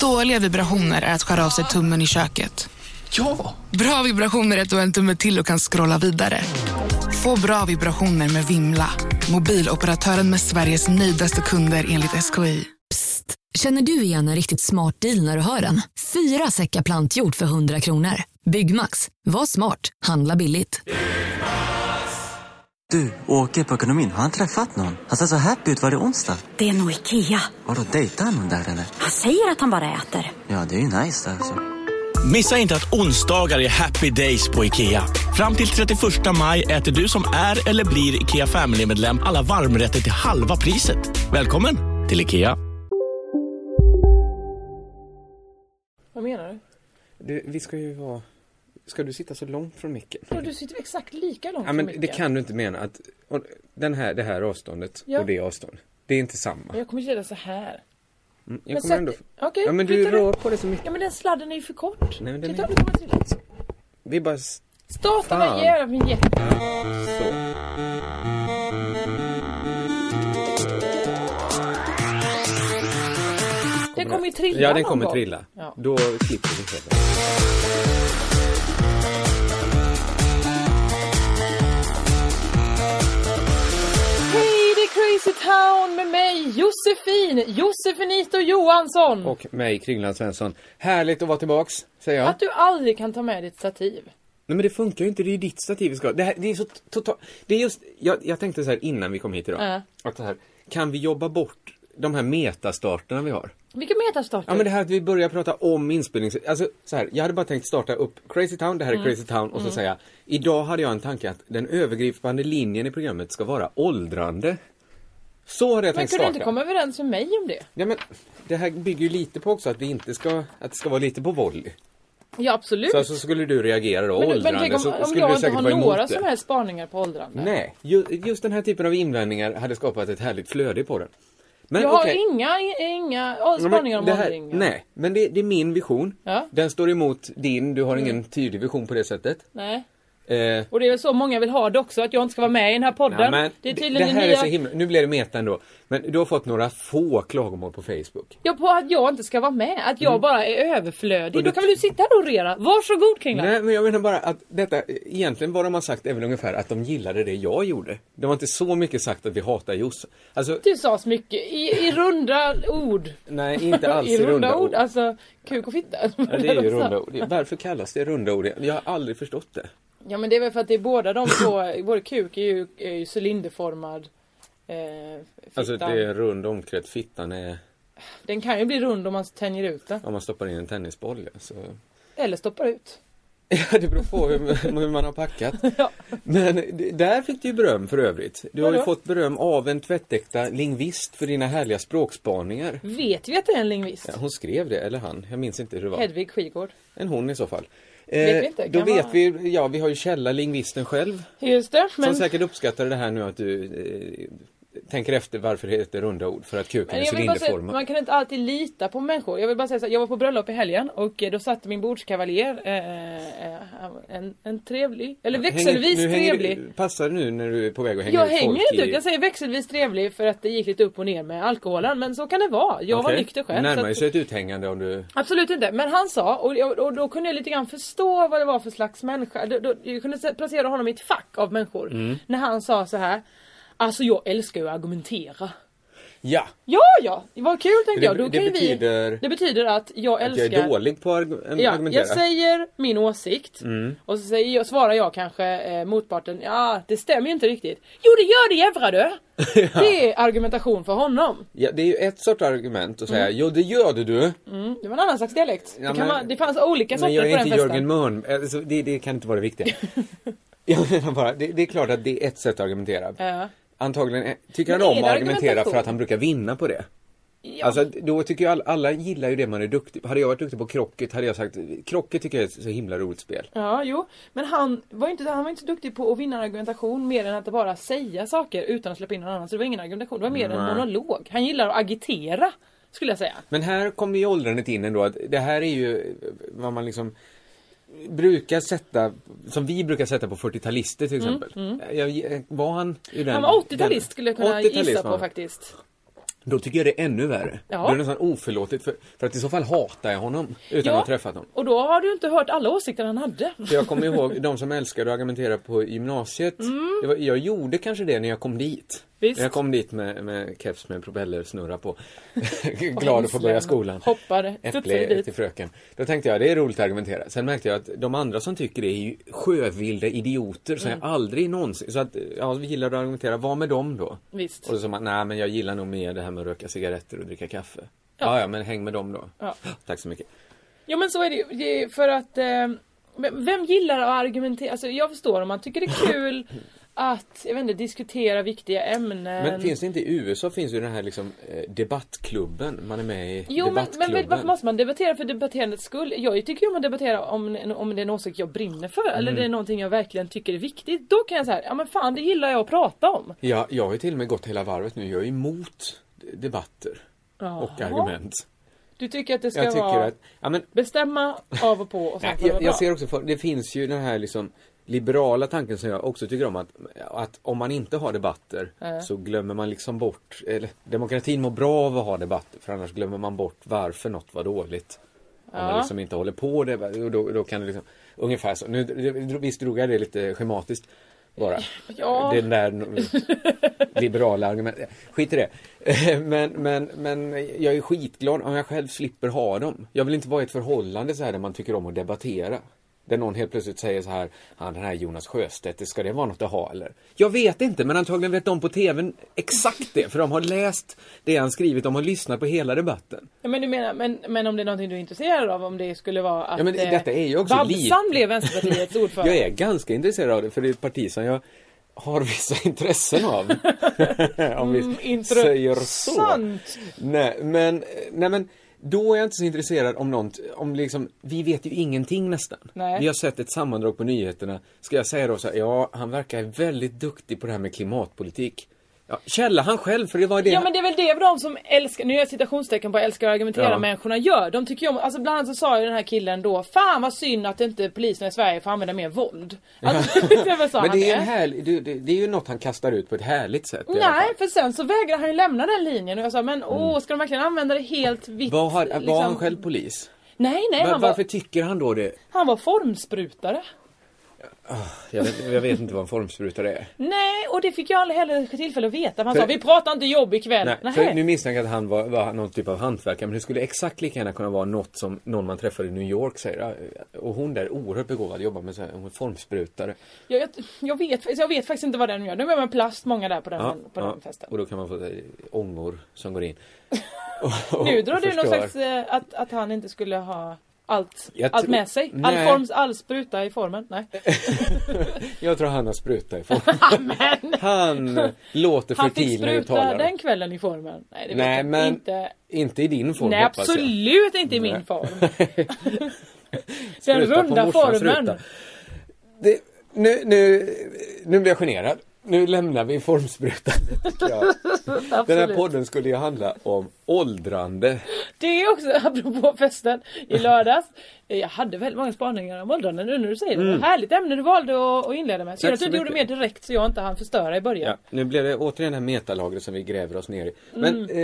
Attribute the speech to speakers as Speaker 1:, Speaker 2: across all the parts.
Speaker 1: Dåliga vibrationer är att skära av sig tummen i köket.
Speaker 2: Ja!
Speaker 1: Bra vibrationer är att du har en tumme till och kan scrolla vidare. Få bra vibrationer med Vimla. Mobiloperatören med Sveriges nöjdaste kunder enligt SKI.
Speaker 3: Psst! Känner du igen en riktigt smart deal när du hör den? Fyra säckar plantjord för 100 kronor. Byggmax. Var smart. Handla billigt.
Speaker 4: Du, åker på ekonomin. Har han träffat någon? Han ser så happy ut. Var det onsdag?
Speaker 5: Det är nog Ikea.
Speaker 4: Har du dejtar någon där eller?
Speaker 5: Han säger att han bara äter.
Speaker 4: Ja, det är ju nice alltså.
Speaker 6: Missa inte att onsdagar är happy days på IKEA. Fram till 31 maj äter du som är eller blir IKEA Family-medlem alla varmrätter till halva priset. Välkommen till IKEA.
Speaker 7: Vad menar du?
Speaker 2: Du, vi ska ju vara... Ska du sitta så långt från micken?
Speaker 7: Ja, du sitter exakt lika långt
Speaker 2: Ja, men
Speaker 7: från
Speaker 2: det
Speaker 7: micken.
Speaker 2: kan du inte mena att och den här, det här avståndet
Speaker 7: Ja.
Speaker 2: och det avståndet, det är inte samma.
Speaker 7: Jag kommer sitta så här.
Speaker 2: Mm,
Speaker 7: men
Speaker 2: jag kommer
Speaker 7: sätt-
Speaker 2: ändå...
Speaker 7: okej,
Speaker 2: ja, men du
Speaker 7: flytta dig.
Speaker 2: rör på det så mycket.
Speaker 7: Ja men den sladden är ju för kort.
Speaker 2: Nej, men den
Speaker 7: Titta
Speaker 2: är-
Speaker 7: om du kommer till.
Speaker 2: Vi bara s-
Speaker 7: Starta
Speaker 2: Fan.
Speaker 7: den jävla vinjetten.
Speaker 2: så.
Speaker 7: Den kommer ju trilla
Speaker 2: Ja, den
Speaker 7: någon
Speaker 2: kommer
Speaker 7: gång.
Speaker 2: trilla.
Speaker 7: Ja.
Speaker 2: Då klipper vi själva.
Speaker 7: Hej, det är Crazy Town med mig Josefin, Josefinito Johansson.
Speaker 2: Och mig, Kringland Svensson. Härligt att vara tillbaks, säger jag.
Speaker 7: Att du aldrig kan ta med ditt stativ.
Speaker 2: Nej men det funkar ju inte, det är ju ditt stativ vi ska ha. det, här, det är så totalt, det är just, jag, jag tänkte så här innan vi kom hit idag.
Speaker 7: Ja.
Speaker 2: Att så här, kan vi jobba bort de här metastarterna vi har?
Speaker 7: Vilken meterstarter?
Speaker 2: Ja men det här att vi börjar prata om inspelning, alltså så här, jag hade bara tänkt starta upp Crazy Town, det här är
Speaker 7: Mm.
Speaker 2: Crazy Town och så säga, idag hade jag en tanke att den övergripande linjen i programmet ska vara åldrande. Så hade jag
Speaker 7: men
Speaker 2: tänkt
Speaker 7: kunde du
Speaker 2: starta.
Speaker 7: inte komma överens med mig om det?
Speaker 2: Nej men, det här bygger ju lite på också att vi inte ska, att det ska vara lite på volley.
Speaker 7: Ja absolut.
Speaker 2: Så alltså skulle du reagera då,
Speaker 7: Mm. men, men
Speaker 2: åldrande,
Speaker 7: tänk om,
Speaker 2: så
Speaker 7: om
Speaker 2: skulle du
Speaker 7: jag inte
Speaker 2: säkert
Speaker 7: har
Speaker 2: vara emot
Speaker 7: några
Speaker 2: det.
Speaker 7: som helst spaningar på åldrande.
Speaker 2: Nej, ju, just den här typen av invändningar hade skapat ett härligt flöde på den. Men
Speaker 7: Jag har
Speaker 2: okej.
Speaker 7: inga, inga
Speaker 2: Ja, men
Speaker 7: spaningar om
Speaker 2: det här-
Speaker 7: åldringar.
Speaker 2: Nej, men det, det är min vision.
Speaker 7: Ja. Mm.
Speaker 2: Den står emot din, du har ingen tydlig vision på det sättet.
Speaker 7: Nej.
Speaker 2: Eh, nej,
Speaker 7: Och det är väl så många vill ha det också, att jag inte ska vara med i den här podden.
Speaker 2: men
Speaker 7: det är
Speaker 2: det-
Speaker 7: tydligen
Speaker 2: det här
Speaker 7: nya...
Speaker 2: är så himla, nu blir det meta ändå. Men du har fått några få klagomål på Facebook.
Speaker 7: Ja, på att jag inte ska vara med, att
Speaker 2: Mm.
Speaker 7: jag bara är överflödig. Då kan väl du sitta här och orera. Varsågod Kringland.
Speaker 2: Nej, men jag menar bara att detta, egentligen vad de har sagt är väl ungefär att de gillade det jag gjorde. Det var inte så mycket sagt att vi hatar Josse. Alltså,
Speaker 7: Du sa så mycket i, i runda ord.
Speaker 2: nej, inte alls
Speaker 7: I runda, ord. Alltså kuk och fitta.
Speaker 2: Ja, det är ju runda ord. Varför kallas det runda ord? Jag har aldrig förstått det.
Speaker 7: Ja men det är väl för att det är båda de två, både kuk är ju, är ju cylinderformad. Eh,
Speaker 2: Alltså
Speaker 7: fittan.
Speaker 2: det är en rund omkrets, fittan är
Speaker 7: Den kan ju bli rund om man tänjer ut den.
Speaker 2: om man stoppar in en tennisboll. ja, Så...
Speaker 7: Eller stoppar ut.
Speaker 2: Ja, det beror på hur, hur man har packat.
Speaker 7: Ja.
Speaker 2: Men det- där fick du ju beröm för övrigt. Du har ju
Speaker 7: Vadå?
Speaker 2: fått beröm av en tvättäkta lingvist för dina härliga språkspaningar.
Speaker 7: Vet vi att det är en lingvist?
Speaker 2: Ja, Hon skrev det, eller han, jag minns inte hur det var.
Speaker 7: Hedvig Skigård.
Speaker 2: En hon i så fall. Eh,
Speaker 7: Vet vi inte,
Speaker 2: Då
Speaker 7: kan
Speaker 2: vet
Speaker 7: vara-
Speaker 2: vi, ja vi har ju Källa, lingvisten själv,
Speaker 7: Just det, men,
Speaker 2: som säkert uppskattar det här nu att du eh, tänker efter varför det heter runda ord, för att kuken
Speaker 7: men
Speaker 2: är
Speaker 7: jag vill bara säga,
Speaker 2: cylinderformad.
Speaker 7: man kan inte alltid lita på människor. Jag vill bara säga så här, jag var på bröllop i helgen och eh, då satt min bordskavaljer, eh, eh, han- en, en trevlig, eller växelvis
Speaker 2: Hänger- nu hänger
Speaker 7: trevlig.
Speaker 2: Du, passar det nu när du är på väg att hänga
Speaker 7: jag
Speaker 2: ut folk
Speaker 7: hänger inte
Speaker 2: i-
Speaker 7: ut, jag säger växelvis trevlig för att det gick lite upp och ner med alkoholen. Men så kan det vara, jag var
Speaker 2: Okej.
Speaker 7: nykter själv. så
Speaker 2: Närmar
Speaker 7: att-
Speaker 2: sig ett uthängande om du...
Speaker 7: Absolut inte, men han sa, och, jag- och då kunde jag lite grann förstå vad det var för slags människa. Då, då, jag kunde se- placera honom i ett fack av människor.
Speaker 2: Mm.
Speaker 7: När han sa så här. Alltså jag älskar ju att argumentera.
Speaker 2: Ja!
Speaker 7: Ja, ja, vad kul tänkte
Speaker 2: Det-
Speaker 7: jag. Då
Speaker 2: det
Speaker 7: kan ju
Speaker 2: betyder-
Speaker 7: vi, det betyder att jag
Speaker 2: Att
Speaker 7: älskar...
Speaker 2: jag är dålig på att arg-
Speaker 7: Ja,
Speaker 2: argumentera. Mm.
Speaker 7: jag säger min åsikt och så säger jag, svarar jag kanske eh, motparten ja det stämmer ju inte riktigt. Jo det gör det jävlar du! Det är argumentation för honom.
Speaker 2: Ja, det är ju ett sorts argument att säga jo det gör du du.
Speaker 7: Mm, det var en annan slags dialekt.
Speaker 2: Ja,
Speaker 7: det,
Speaker 2: men-
Speaker 7: kan man, det fanns olika
Speaker 2: Men
Speaker 7: sorter
Speaker 2: jag
Speaker 7: på
Speaker 2: är
Speaker 7: den
Speaker 2: inte
Speaker 7: festen.
Speaker 2: Jörgen Mörn. Alltså, det, det kan inte vara det viktiga. jag menar bara, det, det är klart att det är ett sätt att argumentera.
Speaker 7: Ja.
Speaker 2: Antagligen är- tycker han
Speaker 7: Men är
Speaker 2: om att
Speaker 7: det
Speaker 2: argumentera
Speaker 7: argumentation?
Speaker 2: för att han brukar vinna på det.
Speaker 7: Ja.
Speaker 2: Alltså då tycker jag alla, alla gillar ju det man är duktig på. Hade jag varit duktig på krocket hade jag sagt krocket tycker jag är ett så himla roligt spel.
Speaker 7: Ja, jo. Men han var ju inte, han var inte så duktig på att vinna en argumentation mer än att bara säga saker utan att släppa in någon annan. Så det var ingen argumentation, det var mer en
Speaker 2: Nej.
Speaker 7: monolog. Han gillar att agitera, skulle jag säga.
Speaker 2: Men här kommer ju åldrandet in ändå att det här är ju vad man liksom brukar sätta, som vi brukar sätta på 40-talister till exempel. Jag, var han i den?
Speaker 7: Mm, Han var 80-talist
Speaker 2: den-
Speaker 7: skulle jag kunna
Speaker 2: 80-talist
Speaker 7: gissa
Speaker 2: var
Speaker 7: på
Speaker 2: han.
Speaker 7: faktiskt.
Speaker 2: Då tycker jag det är ännu värre.
Speaker 7: Ja.
Speaker 2: Då är det nästan oförlåtligt för, för att i så fall hatar jag honom utan att ha träffat honom.
Speaker 7: Och då har du inte hört alla åsikter han hade.
Speaker 2: För jag kommer ihåg de som älskade att argumentera på gymnasiet. Det var, jag gjorde kanske det när jag kom dit.
Speaker 7: Visst.
Speaker 2: När jag kom dit med, med keps med propellersnurra på. Glad att få börja skolan.
Speaker 7: Hoppade, studsade
Speaker 2: Äpple
Speaker 7: dit.
Speaker 2: till fröken. Då tänkte jag det är roligt att argumentera. Sen märkte jag att de andra som tycker det är ju sjövilda idioter som
Speaker 7: Mm.
Speaker 2: jag aldrig någonsin... Så att ja, vi gillar att argumentera. Vad med dem då?
Speaker 7: Visst.
Speaker 2: Och så sa man, nej men jag gillar nog mer det här med att röka cigaretter och dricka kaffe. Ja, ja, men häng med dem då.
Speaker 7: Ja.
Speaker 2: Tack så mycket.
Speaker 7: Ja men så är det ju. Det är för att eh, men Vem gillar att argumentera? Alltså jag förstår om man tycker det är kul att, jag vet inte, diskutera viktiga ämnen.
Speaker 2: Men finns det inte i USA finns ju den här liksom eh, debattklubben man är med i?
Speaker 7: Jo men, men
Speaker 2: debattklubben.
Speaker 7: vet- varför måste man debattera för debatterandets skull? Jag tycker ju om att debattera om, en- om det är en åsikt jag brinner för eller
Speaker 2: Mm.
Speaker 7: det är någonting jag verkligen tycker är viktigt. Då kan jag säga, ja men fan det gillar jag att prata om.
Speaker 2: Ja, jag har ju till och med gått hela varvet nu. Jag är emot debatter och
Speaker 7: Jaha.
Speaker 2: argument.
Speaker 7: Du tycker att det ska
Speaker 2: Jag tycker
Speaker 7: vara
Speaker 2: att, ja men
Speaker 7: bestämma av och på och sen
Speaker 2: Nej,
Speaker 7: får det vara
Speaker 2: jag,
Speaker 7: bra.
Speaker 2: jag ser också, för, det finns ju den här liksom liberala tanken som jag också tycker om att, att om man inte har debatter så glömmer man liksom bort, eller demokratin mår bra av att ha debatter för annars glömmer man bort varför något var dåligt. Om man liksom inte håller på det, och då, då kan det liksom, ungefär så. Nu, det- visst drog jag det lite schematiskt bara.
Speaker 7: Ja.
Speaker 2: Den där liberala argumentet. Skit i det. Men, men, men jag är skitglad om jag själv slipper ha dem. Jag vill inte vara i ett förhållande så här där man tycker om att debattera. Där någon helt plötsligt säger så här, han den här Jonas Sjöstedt, det ska det vara något att ha eller? Jag vet inte, men antagligen vet de på tvn exakt det, för de har läst det han skrivit, de har lyssnat på hela debatten.
Speaker 7: Ja, Men du menar, men, men om det är någonting du är intresserad av, om det skulle vara att
Speaker 2: Ja, men
Speaker 7: eh,
Speaker 2: detta är ju också
Speaker 7: Babsan
Speaker 2: lite-
Speaker 7: blev Vänsterpartiets ordförande.
Speaker 2: Jag är ganska intresserad av det, för det är ett parti som jag har vissa intressen av. Om
Speaker 7: Mm,
Speaker 2: vi säger så.
Speaker 7: intressant.
Speaker 2: Nej men, nej men, då är jag inte så intresserad om något, om liksom, vi vet ju ingenting nästan.
Speaker 7: Nej.
Speaker 2: Vi har sett ett sammandrag på nyheterna. Ska jag säga då så här, ja han verkar väldigt duktig på det här med klimatpolitik. Ja, källa han själv, för det var det
Speaker 7: Ja men det är väl det de som älskar, nu gör jag citationstecken på älskar att argumentera
Speaker 2: Ja.
Speaker 7: människorna gör. De tycker ju om, alltså bland annat så sa ju den här killen då, fan vad synd att inte polisen i Sverige får använda mer våld. Alltså, det var så
Speaker 2: Men
Speaker 7: han
Speaker 2: det är, en
Speaker 7: det.
Speaker 2: härlig, det, det, det är ju något han kastar ut på ett härligt sätt i alla fall.
Speaker 7: Nej för sen så vägrar han ju lämna den linjen och jag sa men åh ska de verkligen använda det helt vitt?
Speaker 2: Var, Mm. har,
Speaker 7: liksom?
Speaker 2: var han själv polis?
Speaker 7: Nej nej
Speaker 2: Var,
Speaker 7: han var,
Speaker 2: varför tycker han då det?
Speaker 7: han var formsprutare.
Speaker 2: Jag vet, jag vet inte vad en formsprutare är.
Speaker 7: Nej och det fick jag aldrig heller tillfälle att veta. Han
Speaker 2: För-
Speaker 7: sa vi pratar inte jobb ikväll.
Speaker 2: Nej, för nu misstänker jag att han var, var någon typ av hantverkare men det skulle exakt lika gärna kunna vara något som någon man träffade i New York säger. "Ja, Och hon där, oerhört begåvad, jobbar med så här, hon är formsprutare.
Speaker 7: Jag, jag, jag, vet, jag vet faktiskt inte vad den gör. De är med plast många där på den, på den festen.
Speaker 2: och då kan man få eh, ångor som går in.
Speaker 7: Nu drar du någon
Speaker 2: förstör.
Speaker 7: slags eh, att, att han inte skulle ha allt,
Speaker 2: Jag
Speaker 7: allt
Speaker 2: tror-
Speaker 7: med sig. All,
Speaker 2: Nej.
Speaker 7: forms, all spruta i formen. Nej.
Speaker 2: Jag tror han har spruta i form. han låter
Speaker 7: Han fick
Speaker 2: fertil när du
Speaker 7: spruta
Speaker 2: talar.
Speaker 7: den kvällen i formen. Nej det vet
Speaker 2: Nej
Speaker 7: jag
Speaker 2: men,
Speaker 7: inte.
Speaker 2: inte i din form
Speaker 7: Nej
Speaker 2: hoppas jag.
Speaker 7: absolut inte i
Speaker 2: Nej.
Speaker 7: min form. Den
Speaker 2: Spruta på
Speaker 7: runda
Speaker 2: morsans
Speaker 7: formen.
Speaker 2: ruta. Det, nu, nu, nu blir jag generad. Nu lämnar vi formsprutan. Ja. Den här
Speaker 7: Absolut.
Speaker 2: podden skulle ju handla om åldrande.
Speaker 7: Det är också apropå festen i lördags. Jag hade väldigt många spaningar om åldrarna nu när du säger det. det. var Härligt ämne du valde att, att inleda med. Synd
Speaker 2: Mm.
Speaker 7: att
Speaker 2: Tack så
Speaker 7: du inte gjorde mer
Speaker 2: mycket.
Speaker 7: direkt så jag inte hann förstöra i början.
Speaker 2: Ja, nu blev det återigen det här metalagret som vi gräver oss ner i. Men, eh, make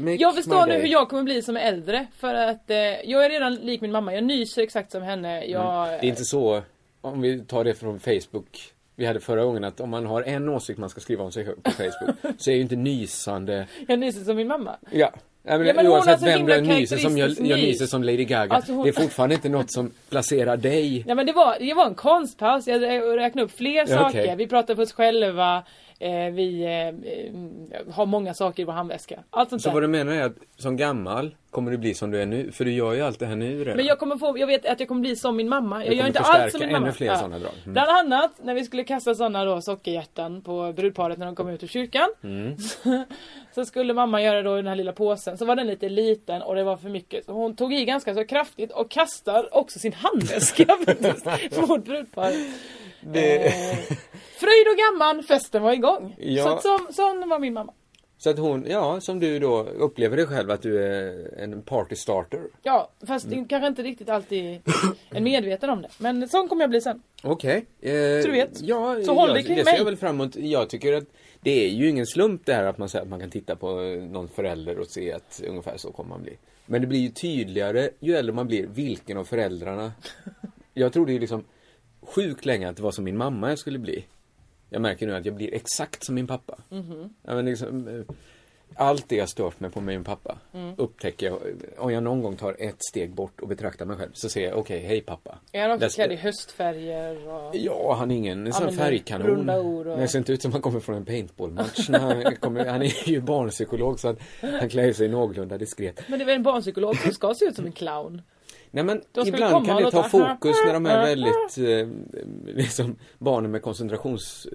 Speaker 7: Mm. Jag förstår
Speaker 2: my
Speaker 7: nu
Speaker 2: day.
Speaker 7: hur jag kommer bli som är äldre för att eh, jag är redan lik min mamma, jag nyser exakt som henne. Jag,
Speaker 2: Det är inte så, om vi tar det från Facebook. Vi hade förra gången att om man har en åsikt man ska skriva om sig på Facebook så är ju inte nysande
Speaker 7: jag nyser som min mamma.
Speaker 2: Ja. Nej, men
Speaker 7: Ja, men hon har
Speaker 2: oavsett
Speaker 7: så
Speaker 2: vem
Speaker 7: himla
Speaker 2: du än nyser som, jag,
Speaker 7: karaktäristisk
Speaker 2: jag
Speaker 7: nys.
Speaker 2: nyser som Lady Gaga.
Speaker 7: Alltså hon-
Speaker 2: Det är fortfarande inte något som placerar dig.
Speaker 7: Nej men det var, det var en konstpaus, jag rä- räknade upp fler
Speaker 2: Ja,
Speaker 7: saker.
Speaker 2: okej.
Speaker 7: Vi pratar för oss själva, eh, vi eh, eh, har många saker i vår handväska. Allt sånt
Speaker 2: Så
Speaker 7: där.
Speaker 2: vad du menar är att som gammal kommer du bli som du är nu, för du gör ju allt det här nu redan.
Speaker 7: Men jag kommer få, jag vet att jag kommer bli som min mamma. Jag
Speaker 2: kommer
Speaker 7: gör inte
Speaker 2: förstärka
Speaker 7: allt som min
Speaker 2: ännu
Speaker 7: mamma.
Speaker 2: fler sådana drag. Mm.
Speaker 7: Bland annat när vi skulle kasta sådana då sockerhjärtan på brudparet när de kom ut ur kyrkan.
Speaker 2: Mm.
Speaker 7: så skulle mamma göra då den här lilla påsen. Så var den lite liten och det var för mycket. Så hon tog i ganska så kraftigt och kastar också sin handväska faktiskt mot brudparet.
Speaker 2: Det-
Speaker 7: Eh, fröjd och gamman, festen var igång.
Speaker 2: Ja.
Speaker 7: Så, så, sån var min mamma.
Speaker 2: Så att hon, ja, som du då upplever dig själv att du är en party starter.
Speaker 7: Ja, fast det är kanske inte riktigt alltid är medveten om det. Men sån kommer jag bli sen.
Speaker 2: Okej. Eh,
Speaker 7: Så du vet.
Speaker 2: Ja,
Speaker 7: Så håll
Speaker 2: jag,
Speaker 7: dig kring
Speaker 2: det ser
Speaker 7: mig.
Speaker 2: jag väl framåt. Jag tycker att det är ju ingen slump det här att man säger att man kan titta på eh, någon förälder och se att ungefär så kommer man bli. Men det blir ju tydligare ju äldre man blir vilken av föräldrarna. Jag trodde ju liksom sjukt länge att det var som min mamma jag skulle bli. Jag märker nu att jag blir exakt som min pappa.
Speaker 7: Mhm.
Speaker 2: Ja, men liksom, eh, allt det jag stört mig på med min pappa
Speaker 7: Mm.
Speaker 2: upptäcker jag. Om jag någon gång tar ett steg bort och betraktar mig själv så ser jag, okej, hej pappa.
Speaker 7: Är han också
Speaker 2: Där-
Speaker 7: klädd i höstfärger och...
Speaker 2: Ja, han är ingen sån
Speaker 7: men
Speaker 2: färgkanon.
Speaker 7: runda ord och-
Speaker 2: Det ser inte ut som han kommer från en paintballmatch. när han, kommer, han är ju barnpsykolog så att han klär sig någorlunda diskret.
Speaker 7: Men det är väl en barnpsykolog som ska se ut som en clown?
Speaker 2: Nej men
Speaker 7: Då ska vi
Speaker 2: ibland
Speaker 7: komma
Speaker 2: kan
Speaker 7: och
Speaker 2: det ta
Speaker 7: låta-
Speaker 2: fokus när de är väldigt, eh, liksom barnen med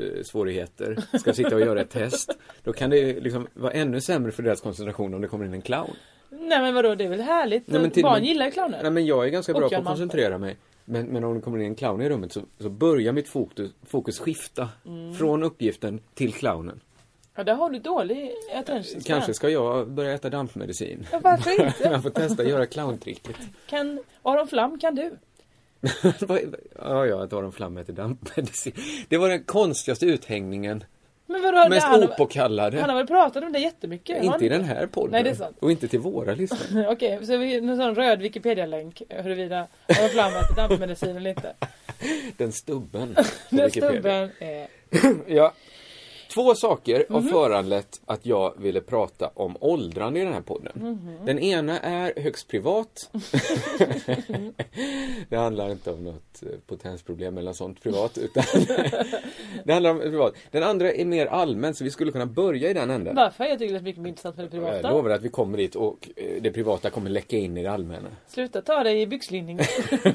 Speaker 2: koncentrationssvårigheter ska sitta och göra ett test. Då kan det liksom vara ännu sämre för deras koncentration om det kommer in en clown.
Speaker 7: Nej men vadå, det är väl härligt?
Speaker 2: Nej, men till och
Speaker 7: Barn
Speaker 2: med-
Speaker 7: gillar ju clowner.
Speaker 2: Nej men jag är ganska
Speaker 7: Och
Speaker 2: bra på
Speaker 7: Göran
Speaker 2: att
Speaker 7: Malmberg.
Speaker 2: koncentrera mig. Men, men om det kommer in en clown i rummet så, så börjar mitt fokus, fokus skifta
Speaker 7: Mm.
Speaker 2: från uppgiften till clownen.
Speaker 7: Ja, där har du dålig attention span.
Speaker 2: Kanske ska jag börja äta dampmedicin.
Speaker 7: Ja, varför inte?
Speaker 2: Jag får testa att göra clowntricket.
Speaker 7: Kan... Aron Flam kan du.
Speaker 2: Vad- ja, ja, att Aron Flam äter dampmedicin. Det var den konstigaste uthängningen.
Speaker 7: Men vadå, det-
Speaker 2: mest
Speaker 7: han,
Speaker 2: opåkallade.
Speaker 7: han har väl pratat om det jättemycket? har han
Speaker 2: inte i den här podden.
Speaker 7: Nej, det är sant.
Speaker 2: Och inte till våra lyssnare.
Speaker 7: Okej, så vi en sån röd Wikipedia-länk huruvida Aron Flam äter dampmedicin eller inte.
Speaker 2: Den stubben. på
Speaker 7: Den
Speaker 2: Wikipedia.
Speaker 7: stubben är...
Speaker 2: Ja. Två saker har föranlett att jag ville prata om åldrande i den här podden. Den ena är högst privat. det handlar inte om något eh, potensproblem eller något sånt privat. Utan det handlar om privat. Den andra är mer allmän så vi skulle kunna börja i den änden.
Speaker 7: Varför? Jag tycker det är mycket mer intressant med det
Speaker 2: Jag
Speaker 7: privata.
Speaker 2: lovar att vi kommer dit och eh, det privata kommer läcka in i det allmänna.
Speaker 7: Sluta ta dig i byxlinning.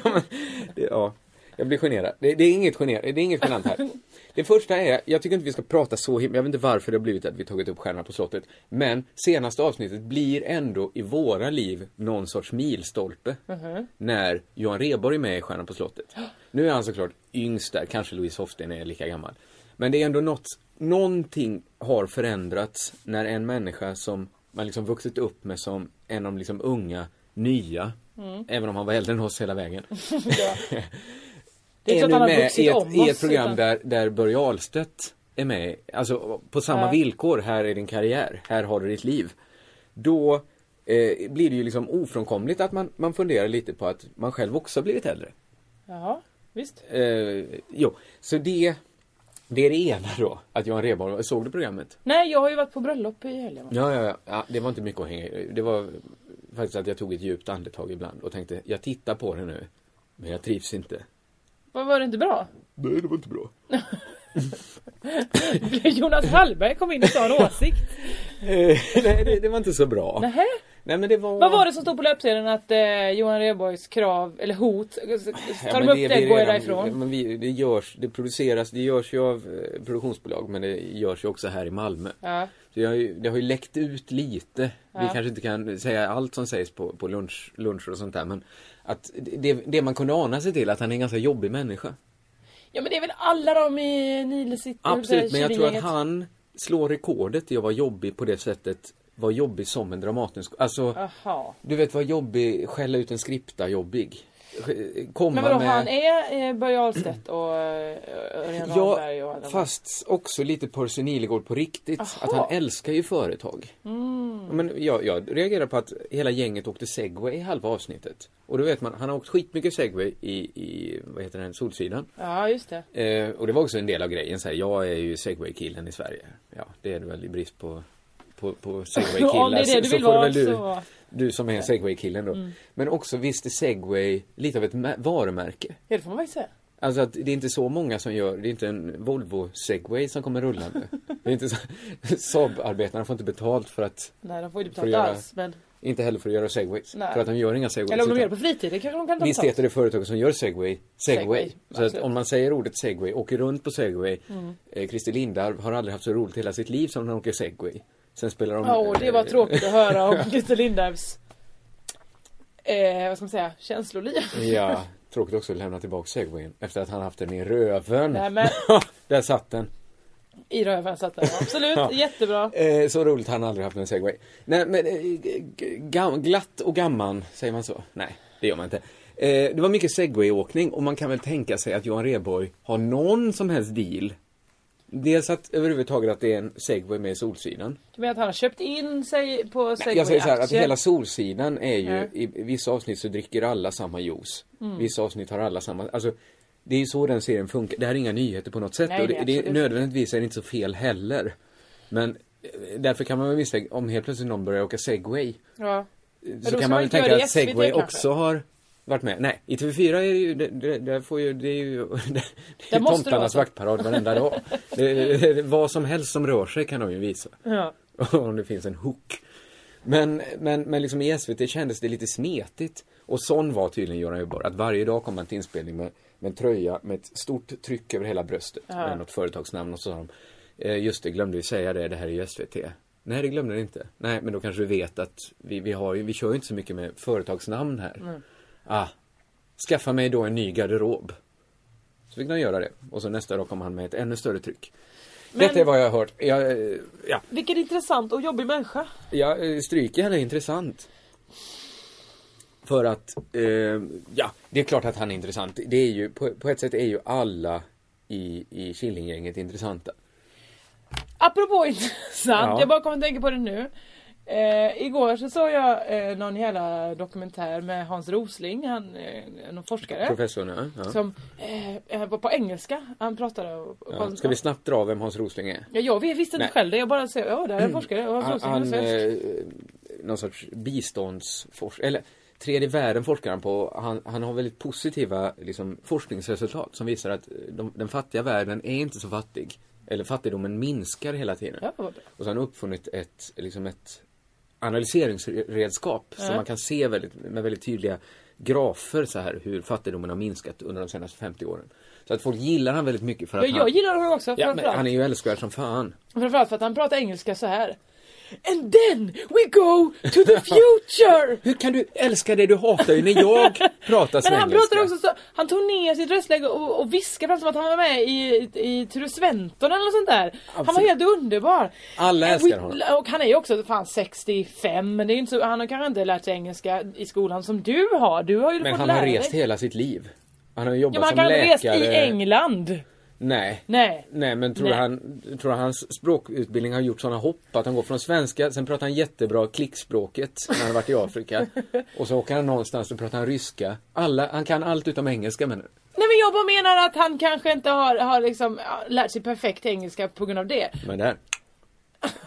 Speaker 2: Det, ja, jag blir generad. Det, det, är inget gener, det är inget genant här. Det första är, jag tycker inte vi ska prata så himla, jag vet inte varför det har blivit att vi tagit upp Stjärnorna på slottet. Men senaste avsnittet blir ändå i våra liv någon sorts milstolpe. När Johan Rheborg är med i Stjärnorna på slottet. Nu är han såklart yngst där, kanske Louise Hofsten är lika gammal. Men det är ändå något, någonting har förändrats när en människa som man liksom vuxit upp med som en av de liksom unga, nya, även om han var äldre än oss hela vägen
Speaker 7: Det är
Speaker 2: är,
Speaker 7: inte så
Speaker 2: nu
Speaker 7: att han har
Speaker 2: med
Speaker 7: vuxit
Speaker 2: i ett,
Speaker 7: om
Speaker 2: i ett
Speaker 7: oss,
Speaker 2: program
Speaker 7: utan-
Speaker 2: där, där Börje Ahlstedt är med, alltså på samma
Speaker 7: Ja.
Speaker 2: villkor, här är din karriär, här har du ditt liv. Då eh, blir det ju liksom ofrånkomligt att man, man funderar lite på att man själv också har blivit äldre.
Speaker 7: Jaha, visst.
Speaker 2: Eh, jo, så det, det är det ena då, att Johan Rheborg, såg du programmet?
Speaker 7: Nej, jag har ju varit på bröllop i helgen. va?
Speaker 2: Ja, ja, ja, ja, det var inte mycket att hänga i. Det var faktiskt att jag tog ett djupt andetag ibland och tänkte, jag tittar på det nu, men jag trivs inte.
Speaker 7: Vad Var det inte bra?
Speaker 2: Nej, det var inte bra.
Speaker 7: Jonas Hallberg kom in och sa en åsikt.
Speaker 2: Nej, det, det var inte så bra.
Speaker 7: Nähä?
Speaker 2: Nej men det var...
Speaker 7: Vad var det som stod på löpsedeln att eh, Johan Rheborgs krav, eller hot, eh, tar
Speaker 2: men
Speaker 7: de upp det,
Speaker 2: vi
Speaker 7: går jag
Speaker 2: redan-
Speaker 7: därifrån.
Speaker 2: Men vi, det görs, det produceras, det görs ju av eh, produktionsbolag men det görs ju också här i Malmö.
Speaker 7: Ja.
Speaker 2: Så det har ju, det har ju läckt ut lite. Vi kanske inte kan säga allt som sägs på, på lunch, luncher och sånt där men att det, det man kunde ana sig till att han är en ganska jobbig människa.
Speaker 7: ja men det är väl alla de i Nile City,
Speaker 2: Absolut, men jag tror att
Speaker 7: Killinggänget.
Speaker 2: han slår rekordet i att vara jobbig på det sättet, vara jobbig som en dramatisk, alltså
Speaker 7: Jaha.
Speaker 2: Du vet vad jobbig, skälla ut en skripta jobbig. Sk- Komma
Speaker 7: Men vadå,
Speaker 2: med...
Speaker 7: han är eh, Börje Ahlstedt och eh, Örjan
Speaker 2: Ja,
Speaker 7: Ramberg och alla de-
Speaker 2: fast också lite Percy Nilegård på riktigt. Att han älskar ju företag.
Speaker 7: Mm.
Speaker 2: Ja, Men jag, jag reagerar på att hela gänget åkte segway i halva avsnittet. Och då vet man, han har åkt skitmycket segway i, i vad heter den, Solsidan.
Speaker 7: Ja, just det.
Speaker 2: Eh, och det var också en del av grejen. Så här, jag är ju segwaykillen i Sverige. Ja, det är det väl i brist på, på, på segwaykillar.
Speaker 7: Om det är det
Speaker 2: Så-
Speaker 7: du
Speaker 2: så
Speaker 7: vill
Speaker 2: får det
Speaker 7: vara, Mm. så-
Speaker 2: väl Du, du som är segwaykillen då. Men också visst är segway lite av ett mä- varumärke.
Speaker 7: Ja, det får man faktiskt säga.
Speaker 2: Alltså att det är inte så många som gör, det är inte en Volvo segway som kommer rullande. Det är inte så, Saab-arbetarna får inte betalt för att,
Speaker 7: Nej, de får ju inte
Speaker 2: Får
Speaker 7: betalt
Speaker 2: göra-
Speaker 7: alls. Men...
Speaker 2: inte heller för att göra segways.
Speaker 7: Nej.
Speaker 2: För att de gör inga segways.
Speaker 7: Eller om de
Speaker 2: utan-
Speaker 7: gör det på fritiden kanske de kan ta
Speaker 2: Visst
Speaker 7: betalt.
Speaker 2: heter det företaget som gör segway, segway.
Speaker 7: Segway,
Speaker 2: så att
Speaker 7: absolut. Mm.
Speaker 2: om man säger ordet segway, åker runt på segway. Eh, Christer Lindarw har aldrig haft så roligt hela sitt liv som när han åker segway. Sen spelar de...
Speaker 7: Ja, och det var
Speaker 2: eh,
Speaker 7: tråkigt att höra om Christer Lindarws eh, vad ska man säga, känsloliv.
Speaker 2: Ja, tråkigt också att lämna tillbaka segwayen efter att han haft den i röven.
Speaker 7: Nej, men-
Speaker 2: Där satt den.
Speaker 7: I röven satt den. Absolut,
Speaker 2: Ja.
Speaker 7: jättebra.
Speaker 2: Eh, så roligt, han har aldrig haft en segway. Nej, men eh, g- gam- glatt och gamman, säger man så? Nej, det gör man inte. Eh, det var mycket segwayåkning och man kan väl tänka sig att Johan Rheborg har någon som helst deal. Dels att överhuvudtaget att det är en segway med i Solsidan.
Speaker 7: Du menar att han har köpt in sig på segway
Speaker 2: Jag säger så här att hela Solsidan är ju,
Speaker 7: Ja. Mm.
Speaker 2: i i vissa avsnitt så dricker alla samma juice. Vissa avsnitt har alla samma, alltså det är ju så den serien funkar. Det här är inga nyheter på något sätt
Speaker 7: Nej,
Speaker 2: och
Speaker 7: nej,
Speaker 2: det, det är
Speaker 7: absolut.
Speaker 2: nödvändigtvis är det inte så fel heller. Men eh, därför kan man väl misstänka, om helt plötsligt någon börjar åka segway, eh,
Speaker 7: Ja.
Speaker 2: så
Speaker 7: då ska
Speaker 2: kan
Speaker 7: man
Speaker 2: man väl
Speaker 7: inte göra
Speaker 2: tänka
Speaker 7: det i
Speaker 2: att segway
Speaker 7: SVT kanske.
Speaker 2: också har varit med. Nej, i TV4 är det ju, det, det, där får ju, det är ju, det, det
Speaker 7: Där måste det
Speaker 2: är
Speaker 7: vara
Speaker 2: tomtarnas
Speaker 7: så.
Speaker 2: vaktparad varenda dag. Det, det, det, vad som helst som rör sig kan de ju visa.
Speaker 7: ja.
Speaker 2: Om det finns en hook. Men, men, men liksom i SVT kändes det lite smetigt. Och sån var tydligen Göran Rheborg, att varje dag kom han till inspelning med, med en tröja med ett stort tryck över hela bröstet med något företagsnamn och så sa de, "Eh, just det, glömde vi säga det, det här är ju SVT. Nej, det glömde ni inte. Nej, men då kanske du vet att vi, vi, har ju, vi kör ju inte så mycket med företagsnamn här. Ah, skaffa mig då en ny garderob. Så fick de göra det. Och så nästa dag kom han med ett ännu större tryck. Detta är vad jag har hört. Jag, eh, ja.
Speaker 7: Vilken intressant och jobbig människa.
Speaker 2: Ja, eh, stryker han är intressant. För att, eh, ja, det är klart att han är intressant. Det är ju, på, på ett sätt är ju alla i, i Killinggänget intressanta.
Speaker 7: Apropå intressant,
Speaker 2: Ja.
Speaker 7: jag bara kommer att tänka på det nu. Eh, igår så såg jag eh, någon jävla dokumentär med Hans Rosling, han eh, någon forskare.
Speaker 2: Professorn, ja. ja.
Speaker 7: Som eh, eh, var på engelska. Han pratade och, och
Speaker 2: ja. Ska vi snabbt dra vem Hans Rosling är?
Speaker 7: ja, Jag vet- visste inte
Speaker 2: Nej.
Speaker 7: själv det. Jag bara såg, ja där är en forskare. Och Hans
Speaker 2: Han,
Speaker 7: Rosling är
Speaker 2: han
Speaker 7: svensk.
Speaker 2: eh, någon sorts biståndsforskare, eller tredje världen forskar han på. Han, han har väldigt positiva liksom, forskningsresultat som visar att eh, de, den fattiga världen är inte så fattig. Eller fattigdomen minskar hela tiden.
Speaker 7: Ja, vad bra.
Speaker 2: Och så har han uppfunnit ett, liksom ett analyseringsredskap som man kan se väldigt, med väldigt tydliga grafer så här hur fattigdomen har minskat under de senaste 50 åren. Så att folk gillar han väldigt mycket för att
Speaker 7: Ja, jag
Speaker 2: han,
Speaker 7: gillar honom också.
Speaker 2: eh, ja, men
Speaker 7: framförallt.
Speaker 2: han är ju älskvärd som fan.
Speaker 7: Framförallt för att han pratar engelska så här. And then we go to the future!
Speaker 2: Hur kan du älska det du hatar ju när jag pratar
Speaker 7: Men han
Speaker 2: svengelska?
Speaker 7: pratar också så, han tog ner sitt röstläge och, och viskade fram som att han var med i, i, i Ture Sventon eller något sånt där. Han var
Speaker 2: Absolut.
Speaker 7: helt underbar.
Speaker 2: Alltså, Alla
Speaker 7: And
Speaker 2: älskar
Speaker 7: we-
Speaker 2: honom.
Speaker 7: Och han är ju också fan 65 men det är ju inte så, han har kanske inte lärt sig engelska i skolan som du har. Du har ju
Speaker 2: Men
Speaker 7: fått
Speaker 2: han
Speaker 7: lära
Speaker 2: har rest
Speaker 7: dig.
Speaker 2: hela sitt liv. Han har ju jobbat
Speaker 7: Ja, men han
Speaker 2: som
Speaker 7: kan ha rest
Speaker 2: läkare.
Speaker 7: i England.
Speaker 2: Nej.
Speaker 7: Nej.
Speaker 2: Nej men tror
Speaker 7: Nej.
Speaker 2: han, tror hans språkutbildning har gjort sådana hopp att han går från svenska, sen pratar han jättebra klickspråket när han har varit i Afrika. och så åker han någonstans och pratar han ryska. Alla, han kan allt utom engelska menar du?
Speaker 7: Nej men jag bara menar att han kanske inte har, har liksom ja, lärt sig perfekt engelska på grund av det.
Speaker 2: Men där.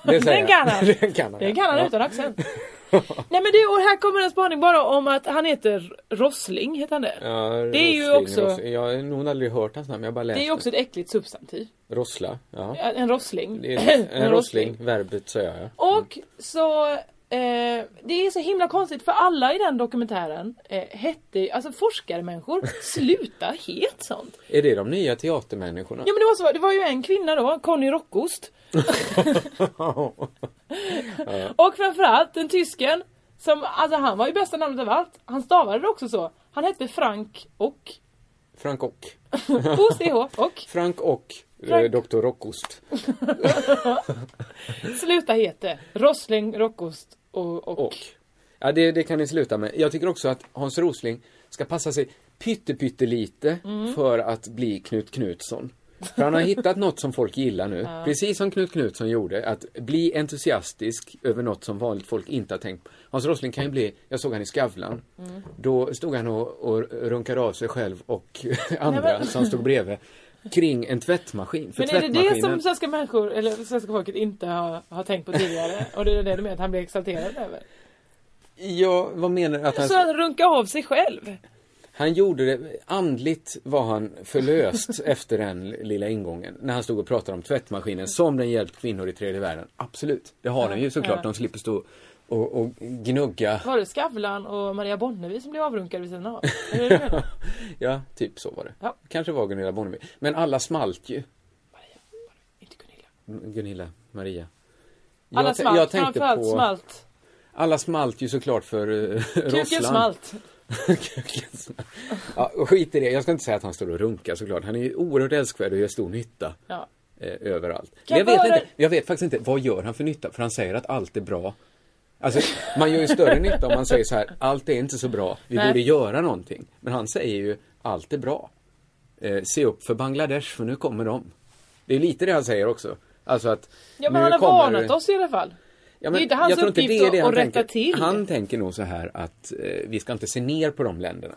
Speaker 7: Den
Speaker 2: säger jag.
Speaker 7: kan han.
Speaker 2: Den kan han.
Speaker 7: Det kan han
Speaker 2: Ja.
Speaker 7: utan accent. Nej men det, och här kommer en spaning bara om att han heter Rossling, heter han det?
Speaker 2: Ja,
Speaker 7: det är ju
Speaker 2: Rosling,
Speaker 7: också,
Speaker 2: Rosling. Jag har nog aldrig hört hans namn, jag har bara läst
Speaker 7: det är ju också ett äckligt substantiv.
Speaker 2: Rossla, ja.
Speaker 7: En rossling.
Speaker 2: Det är en, rossling, verbet så jag. ja.
Speaker 7: Och så, eh, det är så himla konstigt för alla i den dokumentären eh, hette, alltså forskarmänniskor, sluta het sånt.
Speaker 2: Är det de nya teatermänniskorna?
Speaker 7: Ja men det var så, det var ju en kvinna då, Conny Rockost. Och framförallt den tysken som, alltså han var ju bästa namnet av allt. Han stavade det också så. Han hette Frank och,
Speaker 2: Frank och.
Speaker 7: OCH och,
Speaker 2: Frank och eh,
Speaker 7: Frank.
Speaker 2: Dr. Rockost.
Speaker 7: sluta hete, Rossling, Rockost och, och.
Speaker 2: och. Ja, det, det kan ni sluta med. Jag tycker också att Hans Rosling ska passa sig pytte, pytte lite
Speaker 7: Mm.
Speaker 2: för att bli Knut Knutsson. För han har hittat något som folk gillar nu. Precis som Knut Knutsson gjorde, att bli entusiastisk över något som vanligt folk inte har tänkt på. Hans Rosling kan ju bli, jag såg han i Skavlan.
Speaker 7: Mm.
Speaker 2: Då stod han och, och runkade av sig själv och andra
Speaker 7: men-
Speaker 2: som stod bredvid kring en tvättmaskin. För
Speaker 7: Men är det det som
Speaker 2: tvättmaskinen-
Speaker 7: svenska människor, eller svenska folket inte har, har tänkt på tidigare? Och det är det du menar att han blir exalterad över?
Speaker 2: Ja, vad menar du? Att han...
Speaker 7: Så han runkar av sig själv?
Speaker 2: Han gjorde det, andligt var han förlöst efter den lilla ingången. När han stod och pratade om tvättmaskinen som den hjälpt kvinnor i tredje världen. Absolut, det har den ju såklart. De slipper stå och, och gnugga.
Speaker 7: Var det Skavlan och Maria Bonnevi som blev avrunkade vid sidan av? Är det det du menar?
Speaker 2: Ja, typ så var det.
Speaker 7: Ja.
Speaker 2: Kanske var Gunilla Bonneby. Men alla smalt ju.
Speaker 7: Inte Gunilla.
Speaker 2: Gunilla, Maria.
Speaker 7: Alla
Speaker 2: jag, t-
Speaker 7: smalt,
Speaker 2: jag tänkte
Speaker 7: framförallt
Speaker 2: på...
Speaker 7: smalt.
Speaker 2: Alla smalt ju såklart för uh,
Speaker 7: Kuken
Speaker 2: Rossland.
Speaker 7: smalt.
Speaker 2: Kuken smalt. ja, skit i det. Jag ska inte säga att han står och runkar såklart. Han är ju oerhört älskvärd och gör stor nytta.
Speaker 7: Ja.
Speaker 2: Eh, eh, överallt.
Speaker 7: Kan
Speaker 2: Men jag, vet
Speaker 7: vara-
Speaker 2: inte, jag vet faktiskt inte, vad gör han för nytta? För han säger att allt är bra. Alltså, man gör ju större nytta om man säger så här, allt är inte så bra, vi
Speaker 7: Nej.
Speaker 2: borde göra någonting. Men han säger ju, allt är bra. Eh, se upp för Bangladesh, för nu kommer de. Det är lite det han säger också. Alltså att,
Speaker 7: Ja men han har varnat oss i alla fall.
Speaker 2: Ja,
Speaker 7: Det är inte hans
Speaker 2: jag tror
Speaker 7: uppgift
Speaker 2: det är det
Speaker 7: att-
Speaker 2: han
Speaker 7: att rätta
Speaker 2: tänker.
Speaker 7: till.
Speaker 2: Han tänker nog så här att eh, vi ska inte se ner på de länderna.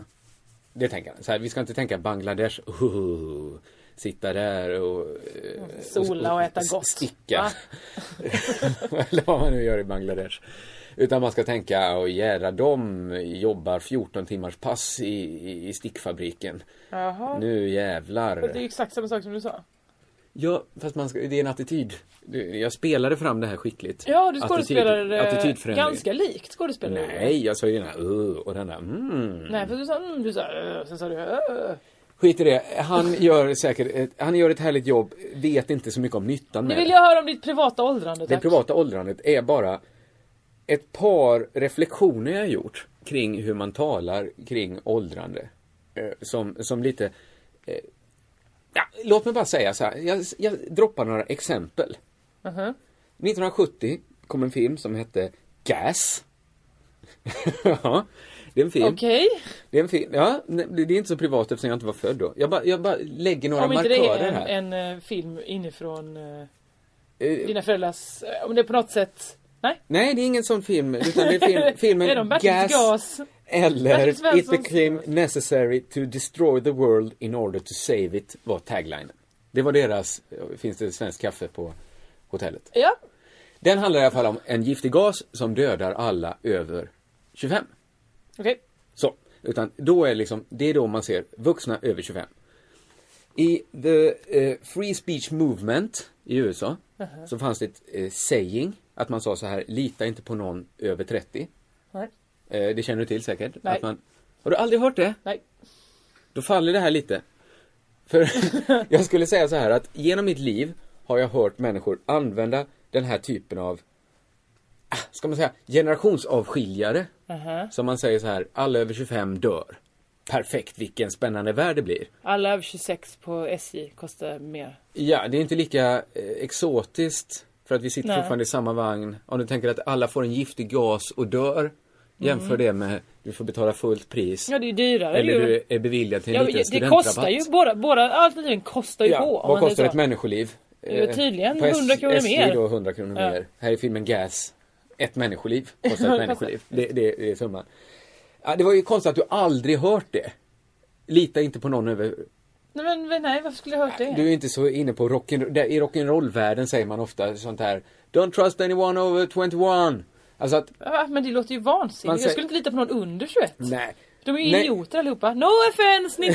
Speaker 2: Det tänker han. Så här, vi ska inte tänka Bangladesh, oh, sitta där och... eh,
Speaker 7: sola och äta
Speaker 2: s-
Speaker 7: gott.
Speaker 2: Sticka.
Speaker 7: Va?
Speaker 2: Eller vad man nu gör i Bangladesh. Utan man ska tänka, och jädra de jobbar 14 timmars pass i, i, i stickfabriken.
Speaker 7: Jaha.
Speaker 2: Nu jävlar.
Speaker 7: Det är ju exakt samma sak som du sa.
Speaker 2: Ja, fast man ska, det är en attityd. Du, Jag spelade fram det här skickligt.
Speaker 7: Ja, du
Speaker 2: Attityd-
Speaker 7: skådespelade eh,
Speaker 2: attitydförändring.
Speaker 7: ganska likt skådespelare.
Speaker 2: Nej, jag sa ju den här uh, och den där mm.
Speaker 7: Nej, för du sa mm, du sa "Ö", sen sa du eh. "Ö".
Speaker 2: Skit i det. Han gör säkert ett, han gör ett härligt jobb, vet inte så mycket om nyttan
Speaker 7: Nu
Speaker 2: med
Speaker 7: vill
Speaker 2: det.
Speaker 7: jag höra om ditt privata åldrande
Speaker 2: Det
Speaker 7: tack.
Speaker 2: privata åldrandet är bara ett par reflektioner jag har gjort kring hur man talar kring åldrande. Eh, Som, som lite... eh, Ja, låt mig bara säga så här, jag, jag droppar några exempel.
Speaker 7: Uh-huh.
Speaker 2: 1970 kom en film som hette Gas. ja, det är en film.
Speaker 7: Okej,
Speaker 2: Det är en film. Ja, nej, det det är inte så privat eftersom jag inte var född då. Jag bara, jag bara lägger några
Speaker 7: om inte det
Speaker 2: markörer
Speaker 7: är
Speaker 2: här.
Speaker 7: en, en eh, film inifrån eh,
Speaker 2: Eh,
Speaker 7: dina föräldrars, eh, om det på något sätt, nej?
Speaker 2: Nej, det är ingen sån film. Utan det är film, filmen
Speaker 7: är de Bertils
Speaker 2: Gas,
Speaker 7: gas?
Speaker 2: eller
Speaker 7: Bertil
Speaker 2: It
Speaker 7: Svenssons
Speaker 2: became necessary to destroy the world in order to save it var taglinen. Det var deras, eh, finns det svenskt kaffe på hotellet.
Speaker 7: Ja,
Speaker 2: Den handlar i alla fall om en giftig gas som dödar alla över 25.
Speaker 7: okej.
Speaker 2: Så, utan då är liksom, det är då man ser vuxna över 25. I the eh, free speech movement i USA så fanns det ett eh, saying att man sa så här, lita inte på någon över 30.
Speaker 7: Nej.
Speaker 2: Eh, det känner du till säkert.
Speaker 7: Nej.
Speaker 2: Att man, har du aldrig hört det?
Speaker 7: Nej.
Speaker 2: Då faller det här lite. För jag skulle säga så här att genom mitt liv har jag hört människor använda den här typen av, ah, ska man säga, generationsavskiljare. Som man säger så här, alla över 25 dör. Perfekt, vilken spännande värld det blir.
Speaker 7: Alla över 26 på SJ kostar mer.
Speaker 2: Ja, det är inte lika eh, exotiskt för att vi sitter
Speaker 7: Nej.
Speaker 2: fortfarande i samma vagn. Om du tänker att alla får en giftig gas och dör, jämför det med du får betala fullt pris.
Speaker 7: Mm. Ja, det är ju dyrare.
Speaker 2: Eller
Speaker 7: det är ju...
Speaker 2: du är beviljad till en
Speaker 7: Ja,
Speaker 2: liten
Speaker 7: det
Speaker 2: studentrabatt.
Speaker 7: kostar ju, båda, båda alternativen kostar ju på. om man
Speaker 2: Vad
Speaker 7: säger
Speaker 2: kostar
Speaker 7: så.
Speaker 2: ett människoliv? Eh,
Speaker 7: Det är tydligen
Speaker 2: på S-
Speaker 7: 100 kronor
Speaker 2: SJ
Speaker 7: mer.
Speaker 2: då 100 kronor
Speaker 7: Ja.
Speaker 2: mer. Här i filmen Gas. Ett människoliv kostar ett människoliv. Det, det, det är summan. Ja, det var ju konstigt att du aldrig hört det. Lita inte på någon över...
Speaker 7: Nej men men nej, varför skulle jag ha hört det?
Speaker 2: Du är inte så inne på rock'n'roll. där- I rock'n'roll-världen säger man ofta sånt här. Don't trust anyone over 21. Alltså att,
Speaker 7: Ja, Ah, men det låter ju
Speaker 2: Man
Speaker 7: vansinnigt.
Speaker 2: säger-
Speaker 7: Jag skulle inte lita på någon under 21.
Speaker 2: nej.
Speaker 7: De är ju
Speaker 2: Nej.
Speaker 7: idioter allihopa. No offense
Speaker 2: Nej,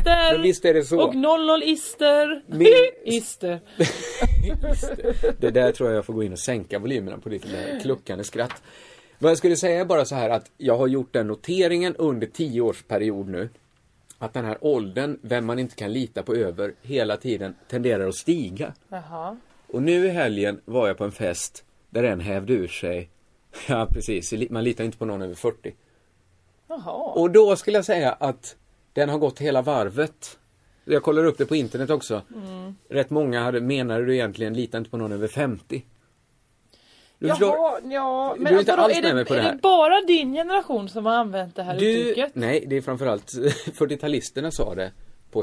Speaker 7: 90-talister!
Speaker 2: men visst är det så.
Speaker 7: Och 00-ister.
Speaker 2: Min-
Speaker 7: Ister.
Speaker 2: Det där tror jag jag får gå in och sänka volymerna på ditt lilla kluckande skratt. Vad jag skulle säga är bara så här att jag har gjort den noteringen under tio års period nu. Att den här åldern, vem man inte kan lita på över, hela tiden tenderar att stiga.
Speaker 7: Jaha.
Speaker 2: Och nu i helgen var jag på en fest där en hävde ur sig, ja precis, man litar inte på någon över 40.
Speaker 7: Jaha.
Speaker 2: Och då skulle jag säga att den har gått hela varvet. Jag kollar upp det på internet också.
Speaker 7: Mm.
Speaker 2: Rätt många hade, menade du egentligen, lita inte på någon över 50. Du förstår?
Speaker 7: Jaha, ja. alltså
Speaker 2: Du är inte
Speaker 7: vadå,
Speaker 2: alls
Speaker 7: är
Speaker 2: med mig på det
Speaker 7: Är
Speaker 2: här.
Speaker 7: det bara din generation som har använt det här
Speaker 2: Du,
Speaker 7: uttrycket?
Speaker 2: nej, det är framförallt 40-talisterna sa det på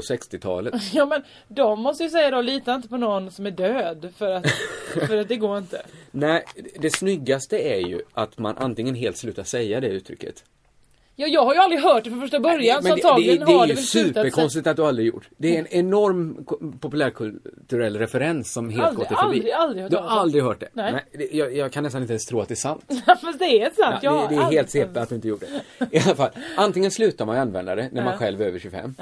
Speaker 2: 60-talet.
Speaker 7: Ja men de måste ju säga då, lita inte på någon som är död för att, för att det går inte.
Speaker 2: Nej, det snyggaste är ju att man antingen helt slutar säga det uttrycket.
Speaker 7: Ja, jag har ju aldrig hört det från första början så
Speaker 2: Men det, det,
Speaker 7: antagligen
Speaker 2: det
Speaker 7: har
Speaker 2: är
Speaker 7: det
Speaker 2: ju
Speaker 7: väl slutat sen.
Speaker 2: superkonstigt att du aldrig gjort. Det är en enorm ko- populärkulturell referens som helt
Speaker 7: Aldrig,
Speaker 2: gått dig förbi.
Speaker 7: aldrig, aldrig hört
Speaker 2: Du
Speaker 7: talas
Speaker 2: har
Speaker 7: om.
Speaker 2: aldrig hört det?
Speaker 7: Nej.
Speaker 2: det- jag, jag kan nästan inte ens tro att det är sant.
Speaker 7: Fast det är sant. jag
Speaker 2: Ja,
Speaker 7: har
Speaker 2: det, det är
Speaker 7: aldrig-
Speaker 2: helt CP att du inte gjorde det. I alla fall, antingen slutar man ju använda det när man själv är över 25.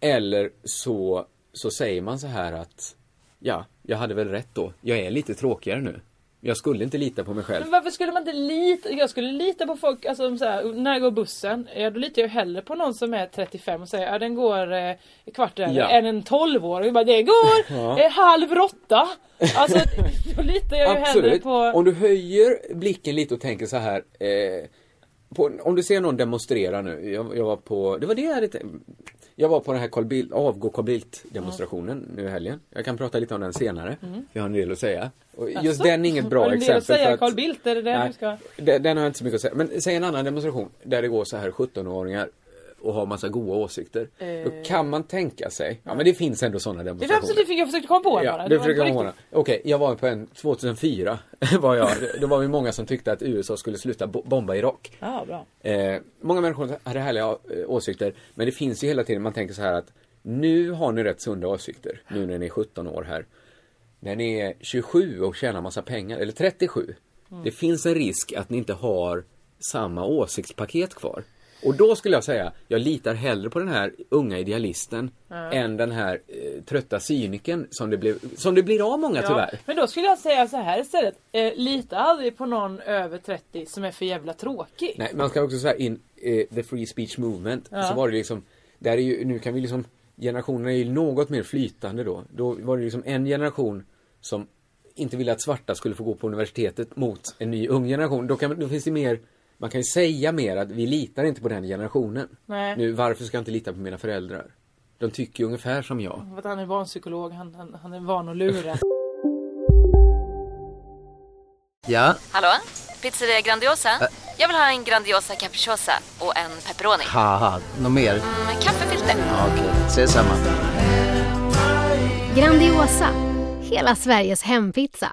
Speaker 2: Eller så, så säger man så här att ja, jag hade väl rätt då. Jag är lite tråkigare nu. Jag skulle inte lita på mig själv.
Speaker 7: Men varför skulle man inte lita? Jag skulle lita på folk, alltså om så här, när jag går bussen, ja då litar jag hellre på någon som är 35 och säger ja den går eh, kvart över,
Speaker 2: Ja.
Speaker 7: än en 12-åring. bara det går eh, halv råtta. Alltså då litar jag ju hellre
Speaker 2: Absolut.
Speaker 7: på...
Speaker 2: Om du höjer blicken lite och tänker så här. Eh, på, om du ser någon demonstrera nu. Jag, jag var på, det var det jag hade tänkt. Jag var på den här Carl Bildt, avgå Carl Bildt demonstrationen nu i helgen. Jag kan prata lite om den senare. Jag har en del att säga. Och just
Speaker 7: Mm. Jaså?
Speaker 2: den är inget bra
Speaker 7: Har du en del
Speaker 2: exempel.
Speaker 7: att säga,
Speaker 2: för
Speaker 7: Carl Bildt? Är det det
Speaker 2: Nej,
Speaker 7: du ska-
Speaker 2: den, den har jag inte så mycket att säga. Men säg en annan demonstration där det går så här 17-åringar och har massa goda åsikter. Då kan man tänka sig, ja men det finns ändå sådana
Speaker 7: Eh. Det är
Speaker 2: demonstrationer.
Speaker 7: absolut, jag försökte komma på en bara.
Speaker 2: Ja,
Speaker 7: Det
Speaker 2: det
Speaker 7: var
Speaker 2: försöker
Speaker 7: på
Speaker 2: jag ordna. Okej, jag var på en 2004. var jag. Då var vi många som tyckte att USA skulle sluta bo- bomba Irak.
Speaker 7: riktigt. Ja, bra.
Speaker 2: Eh, många människor hade härliga eh, åsikter, men det finns ju hela tiden, man tänker så här att nu har ni rätt sunda åsikter, nu när ni är 17 år här. När ni är 27 och tjänar massa pengar, eller 37, det finns en risk att ni inte har samma åsiktspaket kvar. Och då skulle jag säga, jag litar hellre på den här unga idealisten än den här eh, trötta cynikern som det, blev, som det blir av många
Speaker 7: Ja,
Speaker 2: tyvärr.
Speaker 7: men då skulle jag säga så här istället. Eh, lita aldrig på någon över 30 som är för jävla tråkig.
Speaker 2: Nej, man ska också säga in eh, the free speech movement.
Speaker 7: Ja.
Speaker 2: Så var det liksom, där är ju, nu kan vi liksom, generationerna är ju något mer flytande då. Då var det liksom en generation som inte ville att svarta skulle få gå på universitetet mot en ny ung generation. Då, kan, då finns det mer, man kan ju säga mer att vi litar inte på den generationen.
Speaker 7: Nej.
Speaker 2: Nu, varför ska jag inte lita på mina föräldrar? De tycker ju ungefär som jag.
Speaker 7: För att han är barnpsykolog, han, han, han är van att lura.
Speaker 8: Ja,
Speaker 9: Hallå? Pizzeria Grandiosa? Jag vill ha en Grandiosa capriciosa och en pepperoni.
Speaker 8: haha, något mer?
Speaker 9: Med kaffefilter.
Speaker 8: Ja, Okej, ses samma.
Speaker 10: Grandiosa, hela Sveriges hempizza.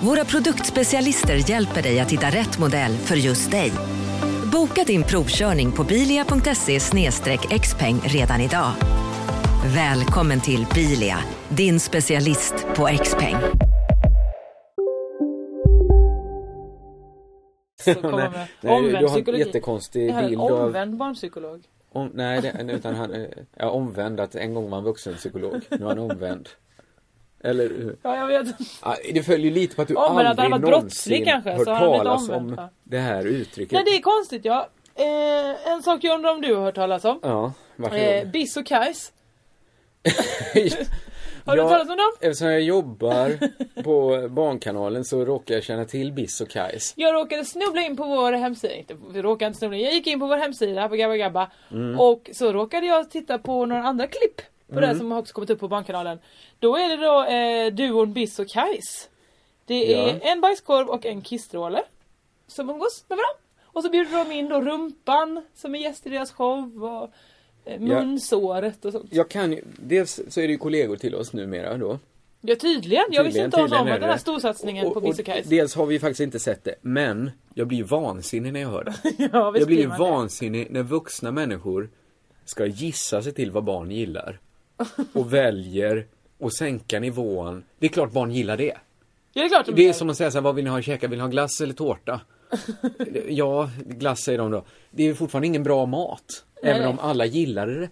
Speaker 3: Våra produktspecialister hjälper dig att hitta rätt modell för just dig. Boka din provkörning på bilia.se xpeng redan idag. Välkommen till Bilia, din specialist på XPeng.
Speaker 7: Så kommer med
Speaker 2: Nej,
Speaker 7: omvänd
Speaker 2: du har en
Speaker 7: psykologi.
Speaker 2: jättekonstig
Speaker 7: Jag har en
Speaker 2: bild av
Speaker 7: omvänd barnpsykolog.
Speaker 2: Om, nej, det, utan han eh, är ja, omvänd, att en gång var han vuxenpsykolog, nu är han omvänd. Eller hur?
Speaker 7: Ja, jag vet.
Speaker 2: Ja, Det följer lite på att du
Speaker 7: Omvänd, att han
Speaker 2: aldrig
Speaker 7: var
Speaker 2: någonsin
Speaker 7: brottslig kanske,
Speaker 2: hört
Speaker 7: så han är inte
Speaker 2: talas
Speaker 7: omvänd,
Speaker 2: om
Speaker 7: va?
Speaker 2: det här uttrycket.
Speaker 7: Nej, det är konstigt ja. Eh, en sak jag undrar om du har hört talas om.
Speaker 2: Ja, varför?
Speaker 7: Eh, Biss och Kajs. Har du
Speaker 2: Ja,
Speaker 7: hört talas om dem?
Speaker 2: Eftersom jag jobbar på Barnkanalen så råkar jag känna till Biss och Kajs.
Speaker 7: Jag råkade snubbla in på vår hemsida, inte, vi råkade inte snubbla in, jag gick in på vår hemsida på Gabba Gabba
Speaker 2: Mm.
Speaker 7: och så råkade jag titta på några andra klipp på det som har också kommit upp på Barnkanalen. Då är det då eh, duon Biss och Kajs. Det är
Speaker 2: Ja.
Speaker 7: en bajskorv och en kissstråle som umgås med varandra. Och så bjuder de in då Rumpan som är gäst i deras show och eh, munsåret och sånt.
Speaker 2: Jag kan ju, dels så är det ju kollegor till oss numera då.
Speaker 7: Ja tydligen, jag visste
Speaker 2: Tydligen-
Speaker 7: inte ens om
Speaker 2: tydligen är
Speaker 7: att den här
Speaker 2: det.
Speaker 7: storsatsningen
Speaker 2: Och-
Speaker 7: på
Speaker 2: och-
Speaker 7: Biss och
Speaker 2: och
Speaker 7: Kajs.
Speaker 2: Dels har vi faktiskt inte sett det, men jag blir ju vansinnig när jag hör det.
Speaker 7: Ja, visst
Speaker 2: jag blir ju
Speaker 7: man det.
Speaker 2: vansinnig när vuxna människor ska gissa sig till vad barn gillar. Och väljer att sänka nivån. Det är klart barn gillar det.
Speaker 7: Ja, det är klart de
Speaker 2: Det är
Speaker 7: gör.
Speaker 2: som att säga så här, vad vill ni ha att käka? Vill ni ha glass eller tårta? ja, glass säger de då. Det är ju fortfarande ingen bra mat. även
Speaker 7: nej.
Speaker 2: om alla gillar det.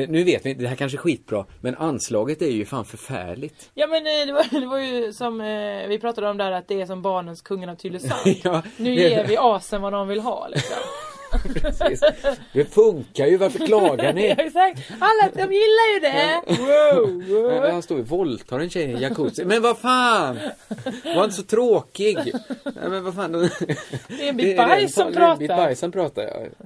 Speaker 2: Eh, Nu vet vi inte, det här kanske är skitbra, men anslaget är ju fan förfärligt.
Speaker 7: Ja men eh, det var, det var ju som eh, vi pratade om där att det är som barnens kungen av Tylösand.
Speaker 2: Ja,
Speaker 7: nu
Speaker 2: det-
Speaker 7: ger vi asen vad de vill ha liksom.
Speaker 2: Precis. Det funkar ju, varför klagar
Speaker 7: ja,
Speaker 2: ni?
Speaker 7: exakt. Alla de gillar ju det! Wow,
Speaker 2: Nej, men
Speaker 7: wow.
Speaker 2: Han står och våldtar en tjej i en jacuzzi. Men vad fan! Var inte så tråkig! Nej, men vad fan. Det
Speaker 7: är en bit bajs som
Speaker 2: Det är en bit
Speaker 7: pratar.
Speaker 2: bajs som pratar, ja.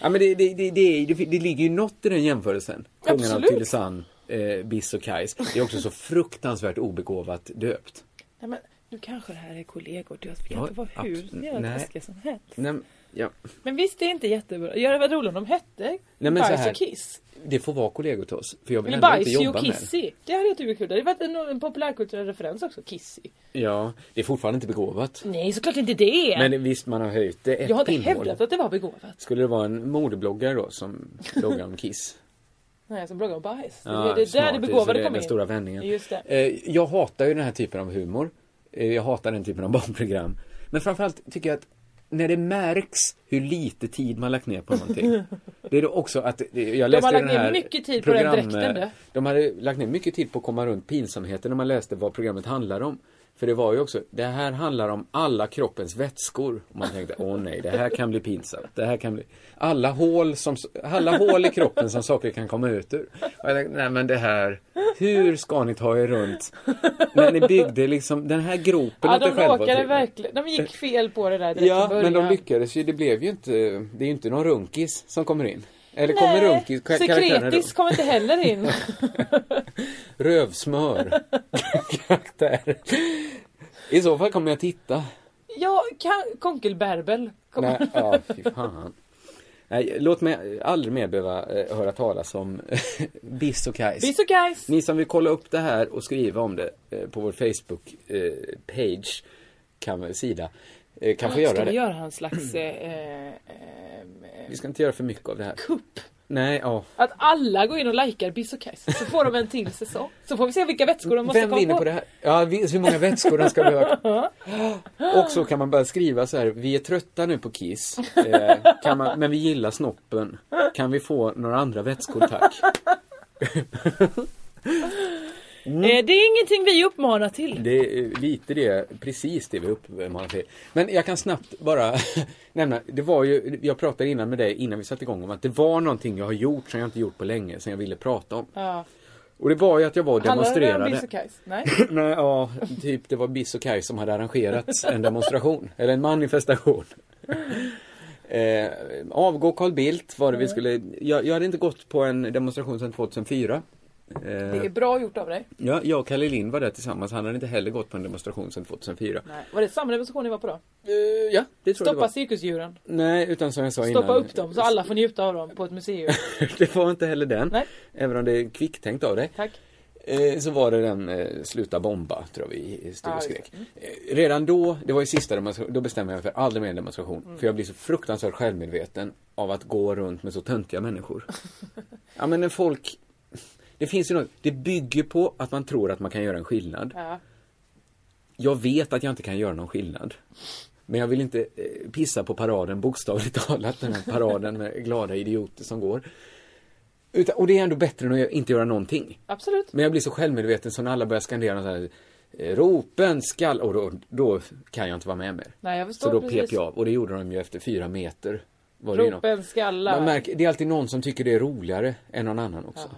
Speaker 2: Ja men det, det, det, det, det, det ligger ju något i den jämförelsen. Kungen av
Speaker 7: Absolut.
Speaker 2: Tylösand, eh, Biss och Kajs. Det är också så fruktansvärt obegåvat döpt.
Speaker 7: Nej, men, nu kanske det här är kollegor till oss. Vi kan
Speaker 2: Ja,
Speaker 7: inte vara hur
Speaker 2: abs-
Speaker 7: jävla
Speaker 2: nej.
Speaker 7: taskiga som helst.
Speaker 2: Nej, men- ja.
Speaker 7: Men visst, det är inte jättebra. Ja, det var roligt om de hette
Speaker 2: men så
Speaker 7: Bajs
Speaker 2: här.
Speaker 7: och Kiss.
Speaker 2: Det får vara kollegor till oss. För jag vill
Speaker 7: Eller
Speaker 2: ändå inte
Speaker 7: Bajsy
Speaker 2: jobba
Speaker 7: och
Speaker 2: med det.
Speaker 7: Kissy. Det hade jag tyckt var kul. Det hade varit en, en populärkulturell referens också, Kissy.
Speaker 2: Ja, det är fortfarande inte begåvat.
Speaker 7: Nej, såklart inte det!
Speaker 2: Men visst, man har höjt det ett
Speaker 7: jag har inte
Speaker 2: pinnhål.
Speaker 7: hävdat att det var begåvat.
Speaker 2: Skulle det vara en modebloggare då som bloggar om Kiss?
Speaker 7: Nej, som bloggar om bajs.
Speaker 2: Ja,
Speaker 7: det är där det
Speaker 2: smarties, så
Speaker 7: begåvade kommer
Speaker 2: är den
Speaker 7: in.
Speaker 2: stora vändningen.
Speaker 7: Just det.
Speaker 2: Eh, Jag hatar ju den här typen av humor. Eh, Jag hatar den typen av barnprogram. Men framförallt tycker jag att när det märks hur lite tid man lagt ner på någonting. Det är då också att, eh, jag
Speaker 7: De
Speaker 2: läste
Speaker 7: har lagt
Speaker 2: den
Speaker 7: ner
Speaker 2: här
Speaker 7: mycket tid på den dräkten, du.
Speaker 2: De hade lagt ner mycket tid på att komma runt pinsamheten när man läste vad programmet handlar om. För det var ju också, det här handlar om alla kroppens vätskor. Och man tänkte, åh nej, det här kan bli pinsamt. Det här kan bli... Alla hål, som, alla hål i kroppen som saker kan komma ut ur. Och jag tänkte, nej men det här, hur ska ni ta er runt? När ni byggde liksom den här gropen
Speaker 7: Ja,
Speaker 2: åt er
Speaker 7: de
Speaker 2: själva,
Speaker 7: råkade
Speaker 2: typ.
Speaker 7: verkligen, de gick fel på det där direkt
Speaker 2: Ja,
Speaker 7: i
Speaker 2: men
Speaker 7: början.
Speaker 2: de lyckades ju. Det blev ju inte, det är ju inte någon runkis som kommer in. Eller
Speaker 7: Nej,
Speaker 2: kommer runkis? ka- karaktären
Speaker 7: Sekretis
Speaker 2: runt?
Speaker 7: kom inte heller in.
Speaker 2: Rövsmör. Karaktär. I så fall kommer jag titta.
Speaker 7: ja, kan, konkelberbel. Kom.
Speaker 2: Nej, ja, fy fan. Nej, låt mig aldrig mer behöva eh, höra talas om Biss och Kajs.
Speaker 7: Biss och Kajs.
Speaker 2: Ni som vill kolla upp det här och skriva om det eh, på vår Facebook-page, kan, sida, eh, kan få göra
Speaker 7: Ska
Speaker 2: det.
Speaker 7: vi göra en slags... Eh, eh, eh,
Speaker 2: Vi ska inte göra för mycket av det här.
Speaker 7: Kupp.
Speaker 2: Nej, ja.
Speaker 7: att alla går in och likar Biss och Kajs, så får de en till säsong. Så får vi se vilka vätskor de måste
Speaker 2: Vem
Speaker 7: komma
Speaker 2: vinner på det här? Ja, vi- hur många vätskor de ska behöva. Och så kan man börja skriva så här, vi är trötta nu på Kiss, eh, kan man, men vi gillar snoppen. Kan vi få några andra vätskor tack?
Speaker 7: Eh, det är ingenting vi uppmanar till.
Speaker 2: Det är eh, lite det, precis det vi uppmanar till. Men jag kan snabbt bara nämna, det var ju, jag pratade innan med dig innan vi satte igång om att det var någonting jag har gjort som jag inte gjort på länge, som jag ville prata om.
Speaker 7: Ja.
Speaker 2: Och det var ju att jag var och
Speaker 7: Handlar det om Biss
Speaker 2: demonstrerade.
Speaker 7: och Kajs? Nej.
Speaker 2: Nej, ja, typ det var Biss och Kaj som hade arrangerat en demonstration, eller en manifestation. Eh, avgå Carl Bildt var det vi skulle, jag, jag hade inte gått på en demonstration sedan 2004. Eh,
Speaker 7: Det är bra gjort av dig.
Speaker 2: ja, jag och Kalle Lind var där tillsammans, han hade inte heller gått på en demonstration sedan 2004.
Speaker 7: Nej. Var det samma demonstration ni var på då?
Speaker 2: Eh, ja, det tror jag det
Speaker 7: Stoppa
Speaker 2: var.
Speaker 7: cirkusdjuren.
Speaker 2: Nej, utan som jag sa innan.
Speaker 7: Stoppa upp dem så alla får njuta av dem på ett museum.
Speaker 2: det var inte heller den. Även om det är kvicktänkt av dig.
Speaker 7: Tack.
Speaker 2: Eh, Så var det den eh, Sluta bomba, tror jag vi stod
Speaker 7: Ja,
Speaker 2: och
Speaker 7: just
Speaker 2: skrek.
Speaker 7: det. Mm.
Speaker 2: Eh, Redan då, det var ju sista demonstrationen, då bestämde jag mig för aldrig mer en demonstration.
Speaker 7: Mm.
Speaker 2: För jag blir så fruktansvärt självmedveten av att gå runt med så töntiga människor. ja men när folk, det finns ju något, det bygger på att man tror att man kan göra en skillnad.
Speaker 7: Ja.
Speaker 2: Jag vet att jag inte kan göra någon skillnad. Men jag vill inte eh, pissa på paraden bokstavligt talat, den här paraden med glada idioter som går. Utan, och det är ändå bättre än att inte göra någonting.
Speaker 7: Absolut.
Speaker 2: Men jag blir så självmedveten så när alla börjar skandera så här eh, Ropen skall... Och då, då kan jag inte vara med mer.
Speaker 7: Nej, jag förstår
Speaker 2: så då
Speaker 7: precis.
Speaker 2: pep jag av och det gjorde de ju efter fyra meter. Var det ju någon-
Speaker 7: Ropen skallar.
Speaker 2: Man märker, det är alltid någon som tycker det är roligare än någon annan också.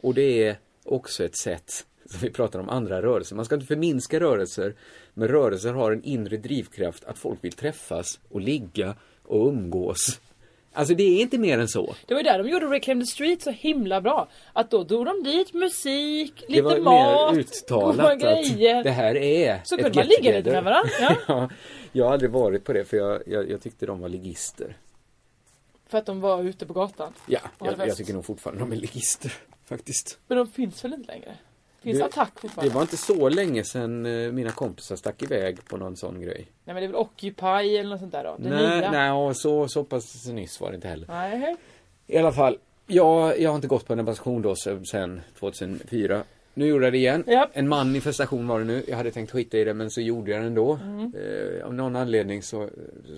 Speaker 2: Och det är också ett sätt, som vi pratar om andra rörelser, man ska inte förminska rörelser, men rörelser har en inre drivkraft att folk vill träffas och ligga och umgås. Alltså det är inte mer än så.
Speaker 7: Det var ju där de gjorde Reclaim the Street så himla bra. Att då drog de dit musik, lite
Speaker 2: det var
Speaker 7: mat,
Speaker 2: mer uttalat
Speaker 7: goda
Speaker 2: att
Speaker 7: grejer.
Speaker 2: det här är
Speaker 7: Så
Speaker 2: ett
Speaker 7: kunde man ligga lite
Speaker 2: get-together.
Speaker 7: med varandra. Ja.
Speaker 2: ja, jag har aldrig varit på det för jag, jag, jag tyckte de var ligister.
Speaker 7: För att de var ute på gatan.
Speaker 2: Ja,
Speaker 7: Och hade
Speaker 2: jag, jag
Speaker 7: fest.
Speaker 2: tycker nog fortfarande de är ligister faktiskt.
Speaker 7: Men de finns väl inte längre? Finns
Speaker 2: Det-
Speaker 7: attack
Speaker 2: Det
Speaker 7: fortfarande?
Speaker 2: var inte så länge sedan eh, mina kompisar stack iväg på någon sån grej.
Speaker 7: Nej men det är väl Occupy eller något sånt där då? Det
Speaker 2: nej,
Speaker 7: nya?
Speaker 2: nej, och så, så pass nyss var det inte heller.
Speaker 7: Nej.
Speaker 2: I alla fall, jag, jag har inte gått på en demonstration då sen sen 2004. Nu gjorde jag det igen. En manifestation var det nu. Jag hade tänkt skita i det men så gjorde jag det ändå.
Speaker 11: Mm.
Speaker 2: Eh, av någon anledning så,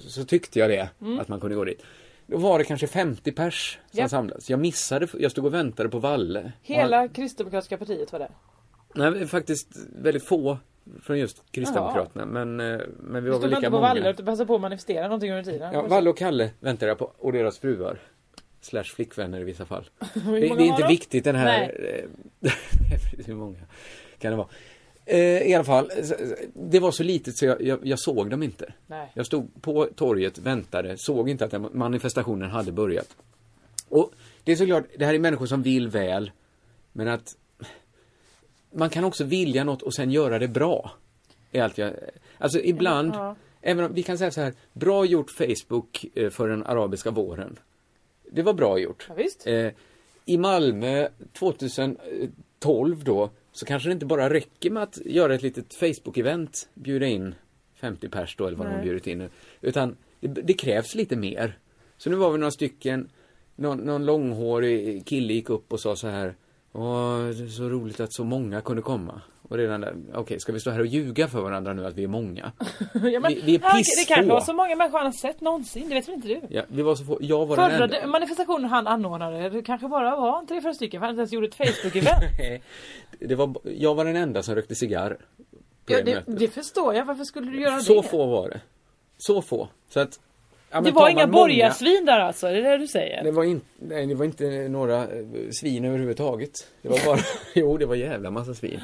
Speaker 2: så tyckte jag det,
Speaker 11: Mm.
Speaker 2: att man kunde gå dit. Då var det kanske 50 pers som
Speaker 7: Ja.
Speaker 2: samlades. Jag missade, jag stod och väntade på Valle. Och
Speaker 7: Hela Kristdemokratiska partiet var där.
Speaker 2: Han, nej, faktiskt väldigt få från just Kristdemokraterna. Men, eh, men
Speaker 7: Vi
Speaker 2: vi var väl
Speaker 7: stod
Speaker 2: lika
Speaker 7: inte på
Speaker 2: många.
Speaker 7: Valle utan passade på att manifestera någonting under tiden.
Speaker 2: Ja, Valle och Kalle väntar jag på och deras fruar. Slash flickvänner i vissa fall.
Speaker 7: Hur
Speaker 2: det, det
Speaker 7: många
Speaker 2: är
Speaker 7: var
Speaker 2: inte
Speaker 7: de?
Speaker 2: viktigt den här... eh, Hur många kan det vara? Eh, I alla fall, eh, det var så litet så jag, jag, jag såg dem inte.
Speaker 7: Nej.
Speaker 2: Jag stod på torget, väntade, såg inte att den manifestationen hade börjat. Och det är såklart, det här är människor som vill väl, men att man kan också vilja något och sen göra det bra. Är allt jag, alltså ibland,
Speaker 11: Ja.
Speaker 2: även om, vi kan säga så här, bra gjort Facebook eh, för den arabiska våren. Det var bra gjort.
Speaker 7: Ja, visst.
Speaker 2: Eh, I Malmö 2012 då, så kanske det inte bara räcker med att göra ett litet Facebook-event, bjuda in 50 pers då eller vad de har
Speaker 11: Nej.
Speaker 2: bjudit in nu. Utan det, det krävs lite mer. Så nu var vi några stycken, någon, någon långhårig kille gick upp och sa så här, Åh, det är så roligt att så många kunde komma. Och redan där, okej, ska vi stå här och ljuga för varandra nu att vi är många?
Speaker 7: ja, men,
Speaker 2: Vi- vi är
Speaker 7: ja,
Speaker 2: piss
Speaker 7: det kanske
Speaker 2: få.
Speaker 7: var så många människor han har sett någonsin, det vet väl inte du?
Speaker 2: Ja, vi var så få, jag var den
Speaker 7: Förra
Speaker 2: enda.
Speaker 7: de- manifestationen han anordnade, det kanske bara var en tre, fyra stycken för han hade inte ens gjort ett Facebook-event.
Speaker 2: Nej, det var, b- jag var den enda som rökte cigarr. På
Speaker 7: ja,
Speaker 2: det
Speaker 7: det,
Speaker 2: mötet.
Speaker 7: det förstår jag, varför skulle du göra
Speaker 2: så
Speaker 7: det?
Speaker 2: få var det. Så få. Så att, ja, men
Speaker 7: det
Speaker 2: tar
Speaker 7: var
Speaker 2: man
Speaker 7: inga
Speaker 2: många-
Speaker 7: borgarsvin där alltså, är det det du säger?
Speaker 2: Det var, in, nej, det var inte några eh, svin överhuvudtaget. Det var bara, jo det var jävla massa svin.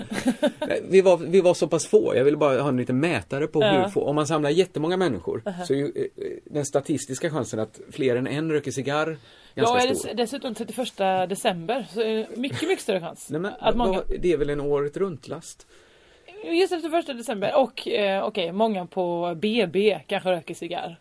Speaker 2: Nej, vi, var, vi var så pass få, jag ville bara ha en liten mätare på hur
Speaker 7: Ja.
Speaker 2: få, om man samlar jättemånga människor
Speaker 7: Aha.
Speaker 2: så är ju eh, eh, den statistiska chansen att fler än en röker cigarr ganska
Speaker 7: Ja, är
Speaker 2: stor.
Speaker 7: det dessutom 31 december så är det mycket, mycket större chans.
Speaker 2: Nej, men,
Speaker 7: att många,
Speaker 2: vad- det är väl en året runt-last?
Speaker 7: just 31 december och eh, okej, många på BB kanske röker cigarr.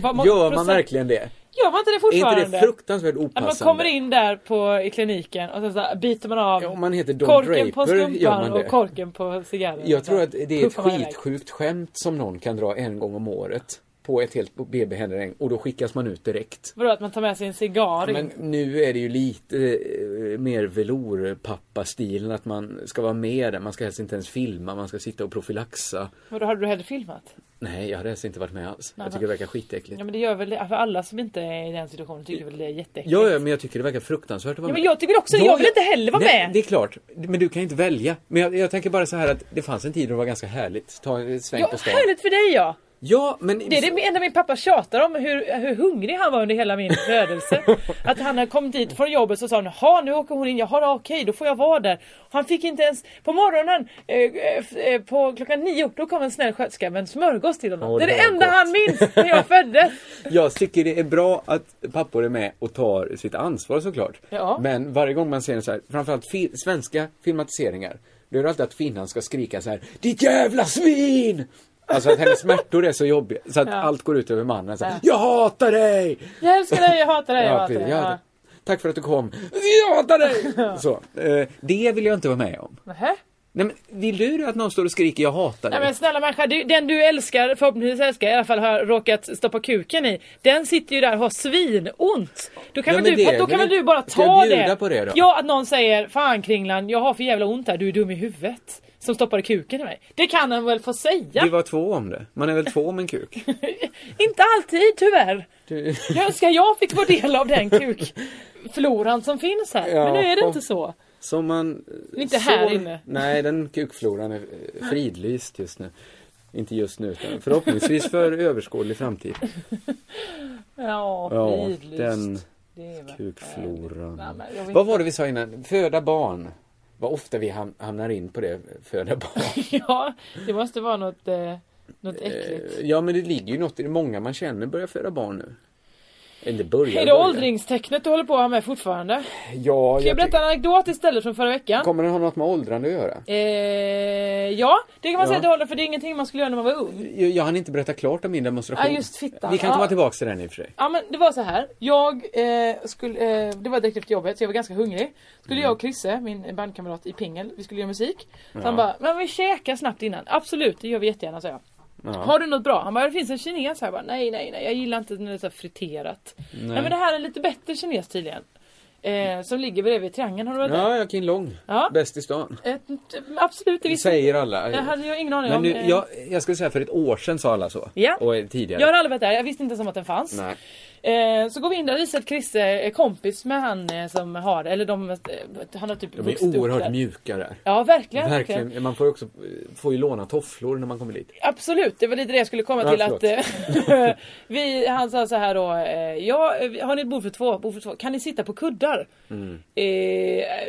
Speaker 7: Vad många
Speaker 2: Gör man
Speaker 7: procent-
Speaker 2: verkligen det?
Speaker 7: Gör man inte det
Speaker 2: Är
Speaker 7: fortfarande?
Speaker 2: inte det fruktansvärt
Speaker 7: Att
Speaker 2: opassande?
Speaker 7: man kommer in där på, i kliniken och sen så här biter man av
Speaker 2: Om man heter Don
Speaker 7: korken på
Speaker 2: Draper gör
Speaker 7: strumpan
Speaker 2: man det.
Speaker 7: och korken på cigarren.
Speaker 2: Jag tror att det är ett
Speaker 7: Puffar man iväg.
Speaker 2: skitsjukt skämt som någon kan dra en gång om året på ett helt BB-händering och då skickas man ut direkt.
Speaker 7: Vadå att man tar med sig en cigarr?
Speaker 2: Men nu är det ju lite eh, mer velourpappa-stilen att man ska vara med där, man ska helst inte ens filma, man ska sitta och profylaxa.
Speaker 7: Vadå, hade du hellre filmat?
Speaker 2: Nej, jag hade helst inte varit med alls.
Speaker 7: Nej,
Speaker 2: Jag tycker det
Speaker 7: men-
Speaker 2: verkar skitäckligt.
Speaker 7: Ja men det gör väl det, för alla som inte är i den situationen tycker väl det är jätteäckligt.
Speaker 2: Ja, ja, men jag tycker det verkar fruktansvärt att vara
Speaker 7: Ja, men
Speaker 2: med.
Speaker 7: jag tycker också- jag vill inte heller vara
Speaker 2: nej,
Speaker 7: med.
Speaker 2: det är klart. Men du kan ju inte välja. Men jag, jag tänker bara så här att det fanns en tid då det var ganska härligt. Ta en sväng
Speaker 7: Ja,
Speaker 2: på stan.
Speaker 7: härligt för dig ja!
Speaker 2: Ja, men...
Speaker 7: Det är det enda min pappa tjatar om, hur, hur hungrig han var under hela min födelse. Att han hade kommit dit från jobbet så sa han Jaha nu åker hon in, jaha okej då får jag vara där. Och han fick inte ens, på morgonen eh, eh, f- eh, på klockan nio då kom en snäll sköterska med en smörgås till honom.
Speaker 2: Åh,
Speaker 7: det är
Speaker 2: det
Speaker 7: det
Speaker 2: var
Speaker 7: enda
Speaker 2: gott.
Speaker 7: han minns när jag föddes.
Speaker 2: Jag tycker det är bra att pappor är med och tar sitt ansvar såklart.
Speaker 7: Ja.
Speaker 2: Men varje gång man ser en så här, framförallt fi- svenska filmatiseringar, då är det alltid att kvinnan ska skrika så här Ditt jävla svin! Alltså att hennes smärtor är så jobbiga så att
Speaker 7: Ja.
Speaker 2: allt går ut över mannen. Så här,
Speaker 7: Ja.
Speaker 2: Jag hatar dig!
Speaker 7: Jag älskar dig, jag hatar dig, jag hatar
Speaker 2: precis.
Speaker 7: dig.
Speaker 2: Jag
Speaker 7: Ja.
Speaker 2: hatar- Tack för att du kom. Jag hatar dig! Så, eh, det vill jag inte vara med om.
Speaker 7: Nähä?
Speaker 2: Nej, men vill du att någon står och skriker jag hatar dig?
Speaker 7: Nej men snälla människa, det- den du älskar, förhoppningsvis älskar, i alla fall har råkat stoppa kuken i. Den sitter ju där och har svinont. Då kan, väl,
Speaker 2: Ja, men
Speaker 7: du,
Speaker 2: det
Speaker 7: då
Speaker 2: är väl
Speaker 7: kan väl
Speaker 2: inte-
Speaker 7: du bara ta
Speaker 2: Ska jag bjuda
Speaker 7: det.
Speaker 2: på det då?
Speaker 7: Ja, att någon säger Fan Kringlan, jag har för jävla ont här, du är dum i huvudet. Som stoppade kuken i mig. Det kan han väl få säga?
Speaker 2: Vi var två om det. Man är väl två om en kuk?
Speaker 7: Inte alltid tyvärr.
Speaker 2: Du...
Speaker 7: Jag önskar jag fick vara del av den kukfloran som finns här.
Speaker 2: Ja.
Speaker 7: Men nu är det inte så.
Speaker 2: Som man...
Speaker 7: Inte här inne.
Speaker 2: Nej, den kukfloran är eh, fridlyst just nu. Inte just nu, utan förhoppningsvis för överskådlig framtid.
Speaker 7: Ja,
Speaker 2: Ja,
Speaker 7: fridlyst.
Speaker 2: den
Speaker 7: Det är väl- Nej,
Speaker 2: kukfloran.
Speaker 7: men jag vet
Speaker 2: Vad var det vi sa innan? Föda barn. Vad ofta vi ham- hamnar in på det, föda barn.
Speaker 7: Ja, det måste vara något, eh, något äckligt.
Speaker 2: Eh, Ja, men det ligger ju något i det. Många man känner börjar föda barn nu. Eller börjar,
Speaker 7: Är det
Speaker 2: börjar.
Speaker 7: åldringstecknet du håller på att ha med fortfarande?
Speaker 2: Ja,
Speaker 7: Ska jag
Speaker 2: jag
Speaker 7: berätta
Speaker 2: tycker...
Speaker 7: en anekdot istället från förra veckan?
Speaker 2: Kommer det ha något med åldrande att göra?
Speaker 7: Eh, ja, det kan man
Speaker 2: Ja.
Speaker 7: säga att det håller för det är ingenting man skulle göra när man var ung.
Speaker 2: Jag, jag hann inte berätta klart om min demonstration.
Speaker 7: Ja, just fittan.
Speaker 2: Vi kan
Speaker 7: Ja.
Speaker 2: komma tillbaks till den i och för sig.
Speaker 7: Ja men det var så här. Jag eh, skulle, eh, det var direkt efter jobbet så jag var ganska hungrig. Skulle jag och Krisse, min bandkamrat i Pingel, vi skulle göra musik. Så
Speaker 11: Ja.
Speaker 7: han bara, men vi käkar snabbt innan. Absolut, det gör vi jättegärna sa jag. Har du något bra? Han bara, det finns en kines här. Jag bara, nej nej nej, jag gillar inte när det är så här friterat. Nej. men det här är lite bättre kines tydligen. Eh, som ligger bredvid triangeln, har du varit där?
Speaker 2: Ja, jag kan lång.
Speaker 7: Ja.
Speaker 2: Bäst i stan.
Speaker 7: Ett, absolut, det visste
Speaker 2: Säger alla.
Speaker 7: Det hade jag ingen aning
Speaker 2: Men
Speaker 7: om.
Speaker 2: nu,
Speaker 7: Eh,
Speaker 2: jag, jag skulle säga för ett år sedan sa alla så.
Speaker 7: Ja.
Speaker 2: Och eh, tidigare.
Speaker 7: Jag har aldrig varit där, jag visste inte ens om att den fanns.
Speaker 2: Nej.
Speaker 7: Eh, så går vi in där och visar att Chris är kompis med han eh, som har det, eller de, eh, han har typ
Speaker 2: De
Speaker 7: vuxit
Speaker 2: är
Speaker 7: upp
Speaker 2: oerhört
Speaker 7: där.
Speaker 2: mjuka där.
Speaker 7: Ja verkligen. verkligen.
Speaker 2: Verkligen. Man får ju också, får ju låna tofflor när man kommer dit.
Speaker 7: Absolut, det var lite det jag skulle komma
Speaker 2: Ja,
Speaker 7: till
Speaker 2: förlåt.
Speaker 7: att eh, vi, han sa så här då, eh, ja, eh, har ni ett bord för två? Bord för två? Kan ni sitta på kuddar?
Speaker 2: Mm.
Speaker 7: Eh,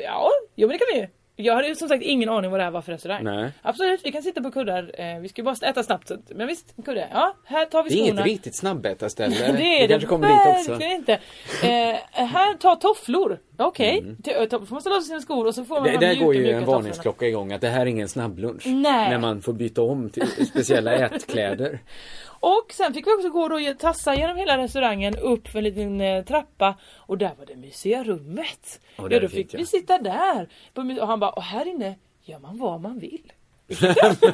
Speaker 7: ja, jo men det kan vi ju. Jag hade ju som sagt ingen aning vad det här var för restaurang.
Speaker 2: Nej.
Speaker 7: Absolut, vi kan sitta på kuddar. Eh, vi ska ju bara äta snabbt. så att- Men visst, en kudde. Ja, här tar vi
Speaker 2: Det är
Speaker 7: skorna.
Speaker 2: inget riktigt snabbätarställe.
Speaker 7: Det
Speaker 2: Vi
Speaker 7: är det
Speaker 2: kanske kommer dit också.
Speaker 7: verkligen inte. Eh, här, ta tofflor. Okej, okay. får man ställa av sig sina skor och så får man
Speaker 2: Mm.
Speaker 7: de
Speaker 2: Det, där
Speaker 7: mjuka,
Speaker 2: går ju
Speaker 7: mjuka
Speaker 2: en
Speaker 7: tofflorna.
Speaker 2: varningsklocka igång att det här är ingen snabblunch.
Speaker 7: Nej.
Speaker 2: När man får byta om till speciella ätkläder.
Speaker 7: Och sen fick vi också gå då och tassa genom hela restaurangen upp för en liten eh, trappa och där var det mysiga rummet.
Speaker 11: Och där
Speaker 7: ja, då
Speaker 11: fick
Speaker 7: fick
Speaker 11: jag.
Speaker 7: vi sitta där. På my- Och han bara, och här inne gör man vad man vill.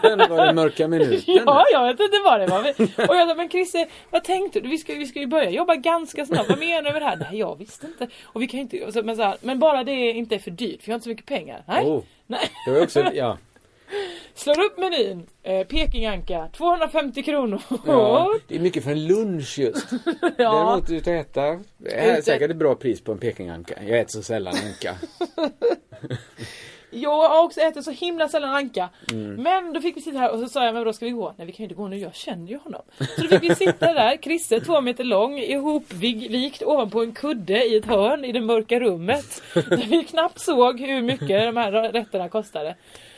Speaker 2: Men var det mörka minuten?
Speaker 7: Ja, jag vet inte vad det var. Vi- Och jag sa, men Chrisse, vad tänkte du? Vi ska, vi ska ju börja jobba ganska snabbt. Vad menar du med det här? Nej, jag visste inte. Och vi kan ju inte, och så, men, så här, men bara det inte är för dyrt, för jag har inte så mycket pengar. Nej.
Speaker 2: Oh.
Speaker 7: Nej.
Speaker 2: Det var också, ja.
Speaker 7: Slår upp menyn, eh, Pekinganka, 250 kronor.
Speaker 2: ja. Det är mycket för en lunch just. Däremot ut och äta. Det är
Speaker 7: Ute.
Speaker 2: säkert ett bra pris på en Pekinganka. Jag äter så sällan anka.
Speaker 7: Jag har också ätit så himla sällan anka.
Speaker 2: Mm.
Speaker 7: Men då fick vi sitta här och så sa jag, men då ska vi gå? Nej vi kan ju inte gå nu, jag känner ju honom. Så då fick vi sitta där, Chrisse två meter lång, ihopvikt ovanpå en kudde i ett hörn i det mörka rummet. Där vi knappt såg hur mycket de här rätterna kostade.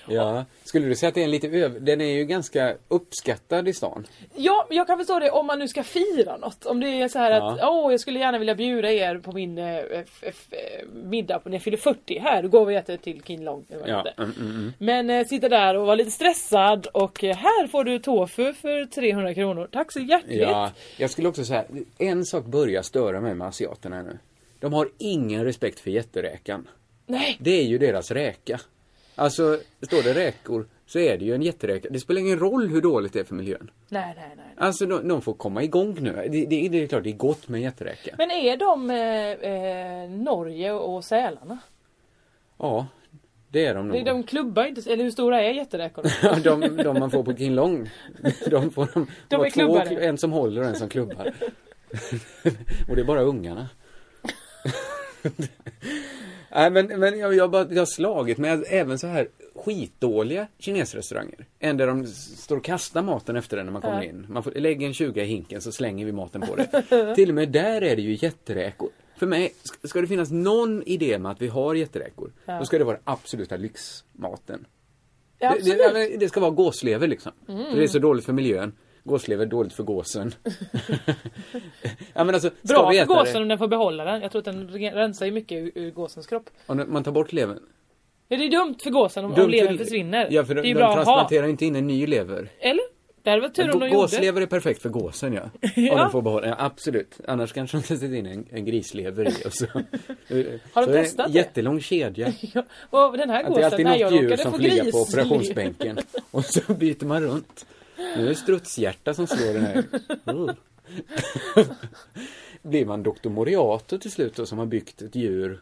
Speaker 2: Ja. Skulle du säga att det är en lite över... Den är ju ganska uppskattad i stan.
Speaker 7: Ja, men jag kan förstå det om man nu ska fira något. Om det är så här
Speaker 2: Ja.
Speaker 7: att, åh jag skulle gärna vilja bjuda er på min eh, f- f- eh, middag när jag fyller 40 här, då går vi och äter till King Long. eller vad det
Speaker 2: Ja.
Speaker 7: heter.
Speaker 2: Mm, mm, mm.
Speaker 7: Men eh, sitta där och vara lite stressad och eh, här får du tofu för 300 kronor. Tack så hjärtligt!
Speaker 2: Ja, jag skulle också säga, en sak börjar störa mig med asiaterna nu. De har ingen respekt för jätteräkan.
Speaker 7: Nej!
Speaker 2: Det är ju deras räka. Alltså, står det räkor så är det ju en jätteräka. Det spelar ingen roll hur dåligt det är för miljön.
Speaker 7: Nej, nej, nej.
Speaker 2: Alltså, de, de får komma igång nu. Det, det, det är klart, det är gott med en jätteräka.
Speaker 7: Men är de eh, eh, Norge och Sälarna?
Speaker 2: Ja, det är de
Speaker 7: De,
Speaker 2: nog.
Speaker 7: de klubbar inte, eller hur stora är jätteräkorna?
Speaker 2: Ja, de, de man får på King Long. De får de,
Speaker 7: De
Speaker 2: har
Speaker 7: är klubbare.
Speaker 2: kl- En som håller och en som klubbar. och det är bara ungarna. Nej men, men jag, jag, bara, jag har slagit mig att även så här skitdåliga kinesrestauranger. En där de s- står och kastar maten efter den när man kommer
Speaker 7: Ja.
Speaker 2: in. Man får lägga en 20 i hinken så slänger vi maten på det. Till och med där är det ju jätteräkor. För mig, ska- ska det finnas någon idé med att vi har jätteräkor,
Speaker 7: Ja.
Speaker 2: då ska det vara den absoluta lyxmaten.
Speaker 7: Ja,
Speaker 2: Det, det,
Speaker 7: absolut.
Speaker 2: eller det ska vara gåslever liksom.
Speaker 7: Mm.
Speaker 2: För det är så dåligt för miljön. Gåslever dåligt för gåsen. ja, men alltså, ska
Speaker 7: Bra
Speaker 2: vi
Speaker 7: för
Speaker 2: äta
Speaker 7: gåsen
Speaker 2: det?
Speaker 7: om den får behålla den. Jag tror att den re- rensar ju mycket ur, ur gåsens kropp.
Speaker 2: Om man tar bort levern.
Speaker 7: Ja, det är dumt för gåsen om,
Speaker 2: Dumt
Speaker 7: om levern
Speaker 2: för-
Speaker 7: försvinner.
Speaker 2: Ja, för
Speaker 7: det är
Speaker 2: de,
Speaker 7: ju
Speaker 2: de
Speaker 7: bra att ha.
Speaker 2: transplanterar inte in en ny lever.
Speaker 7: Eller? Det hade varit tur om de gjorde.
Speaker 2: Gåslever är perfekt för gåsen ja. Om
Speaker 7: Ja.
Speaker 2: den får behålla, ja, absolut. Annars kanske de sätter in en, en grislever i och så.
Speaker 7: Har de
Speaker 2: så är
Speaker 7: testat
Speaker 2: en
Speaker 7: det?
Speaker 2: jättelång kedja.
Speaker 7: Och den här
Speaker 2: Att det är
Speaker 7: gåsen,
Speaker 2: alltid
Speaker 7: nej jag
Speaker 2: något djur
Speaker 7: råkade
Speaker 2: som
Speaker 7: få
Speaker 2: får ligga på
Speaker 7: gris.
Speaker 2: operationsbänken. Och så byter man runt. Nu är det strutshjärta som slår den här. Oh.
Speaker 7: Mm.
Speaker 2: Blir man doktor Moriato till slut då som har byggt ett djur.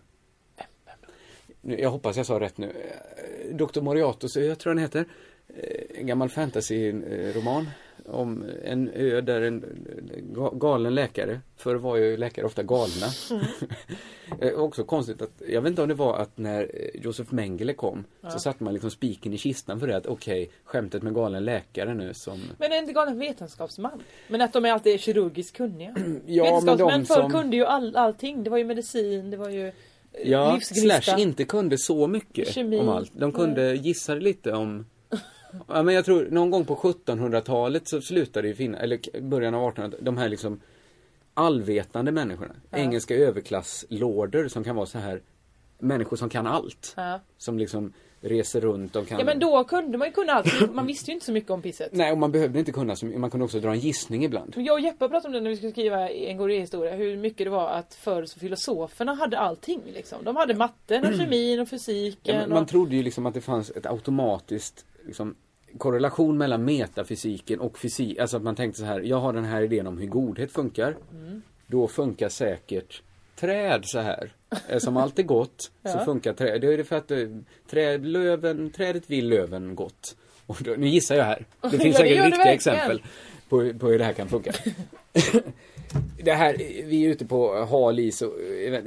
Speaker 2: Nu, Jag hoppas jag sa rätt nu. Eh, Doktor Moriato, så jag tror han heter. eh, En gammal fantasyroman. Om en ö där en eh, ga- galen läkare. Förr var ju läkare ofta galna.
Speaker 7: Mm.
Speaker 2: Eh, Också konstigt att, jag vet inte om det var att när eh, Josef Mengele kom
Speaker 7: Ja.
Speaker 2: så satte man liksom spiken i kistan för det att okej, skämtet med galen läkare nu som
Speaker 7: Men är inte galen vetenskapsman? Men att de är alltid kirurgiskt kunniga.
Speaker 2: Ja, men
Speaker 7: Vetenskapsmän
Speaker 2: de
Speaker 7: förr
Speaker 2: som-
Speaker 7: kunde ju all, allting. Det var ju medicin, det var ju eh,
Speaker 2: Ja,
Speaker 7: livsgnista.
Speaker 2: slash inte kunde så mycket
Speaker 7: Kemi.
Speaker 2: om allt. De kunde gissa lite om Ja men jag tror någon gång på 1700-talet så slutade ju finna, eller k- början av 1800-talet, de här liksom allvetande människorna.
Speaker 7: Ja.
Speaker 2: Engelska överklasslorder som kan vara så här människor som kan allt.
Speaker 7: Ja.
Speaker 2: Som liksom reser runt, de kan
Speaker 7: ja men då kunde man ju kunna allt. Man visste ju inte så mycket om pisset.
Speaker 2: Nej, och man behövde inte kunna så mycket. Man kunde också dra en gissning ibland.
Speaker 7: Men Jag och Jeppe pratade om det när vi skulle skriva en gourmethistoria, hur mycket det var att förr så filosoferna hade allting liksom. De hade matten och kemin och
Speaker 2: Ja,
Speaker 7: fysiken
Speaker 2: men man
Speaker 7: och...
Speaker 2: trodde ju liksom att det fanns ett automatiskt liksom, korrelation mellan metafysiken och fysik. Alltså att man tänkte så här, jag har den här idén om hur godhet funkar.
Speaker 7: Mm.
Speaker 2: Då funkar säkert träd så här. Eh, Som allt är gott så
Speaker 7: Ja.
Speaker 2: funkar träd. Det är det för att eh, träd, löven, trädet vill löven gott. Och då, nu gissar jag här. Det
Speaker 7: Ja,
Speaker 2: finns
Speaker 7: det
Speaker 2: säkert
Speaker 7: gör det
Speaker 2: riktiga
Speaker 7: verkligen.
Speaker 2: exempel på, på hur det här kan funka. det här, vi är ute på eh, hal is och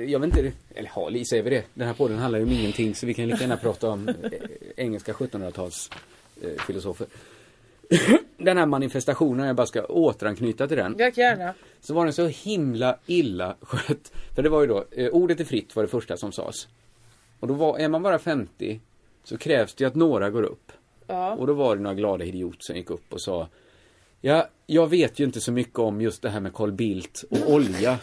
Speaker 2: jag vet inte, eller hal is är vi det? Den här podden handlar ju om ingenting så vi kan lika gärna prata om eh, engelska 1700-tals eh, filosofer. den här manifestationen, jag bara ska återanknyta till den.
Speaker 7: Jag gärna.
Speaker 2: Så var den så himla illa skött. För det var ju då, eh, ordet är fritt var det första som sades. Och då var, är man bara 50 så krävs det ju att några går upp.
Speaker 7: Ja.
Speaker 2: Och då var det några glada idioter som gick upp och sa Ja, jag vet ju inte så mycket om just det här med Carl Bildt och olja.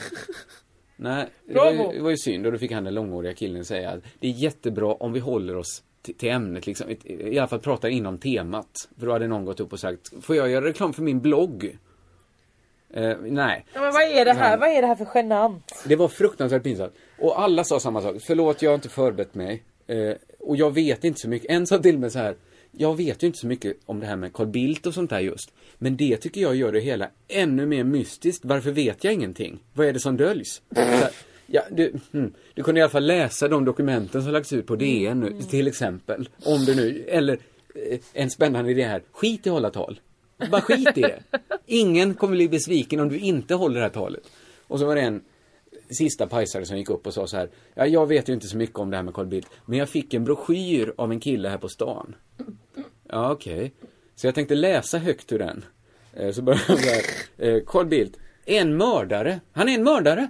Speaker 2: Nej, det var, ju,
Speaker 7: Bravo.
Speaker 2: det var ju synd och då fick han den långåriga killen säga att det är jättebra om vi håller oss till, till ämnet liksom, i, i alla fall pratar inom temat. För då hade någon gått upp och sagt, får jag göra reklam för min blogg? Eh, nej.
Speaker 7: Ja, Men vad är det här? Vad är det här för genant?
Speaker 2: Det var fruktansvärt pinsamt. Och alla sa samma sak. Förlåt, jag har inte förberett mig. Eh, och jag vet inte så mycket. En sa till mig så här. jag vet ju inte så mycket om det här med Carl Bildt och sånt där just. Men det tycker jag gör det hela ännu mer mystiskt. Varför vet jag ingenting? Vad är det som döljs? Så här, Ja, du, hmm, du kunde i alla fall läsa de dokumenten som lagts ut på DN nu, till exempel. Om du nu, eller eh, en spännande idé här, skit i att hålla tal. Bara skit i det. Ingen kommer bli besviken om du inte håller det här talet. Och så var det en sista pajsare som gick upp och sa så här. Ja, jag vet ju inte så mycket om det här med Carl Bildt, men jag fick en broschyr av en kille här på stan. Ja, okej. Så jag tänkte läsa högt ur den. Eh, Så började jag så här. eh, Carl Bildt, en mördare. Han är en mördare.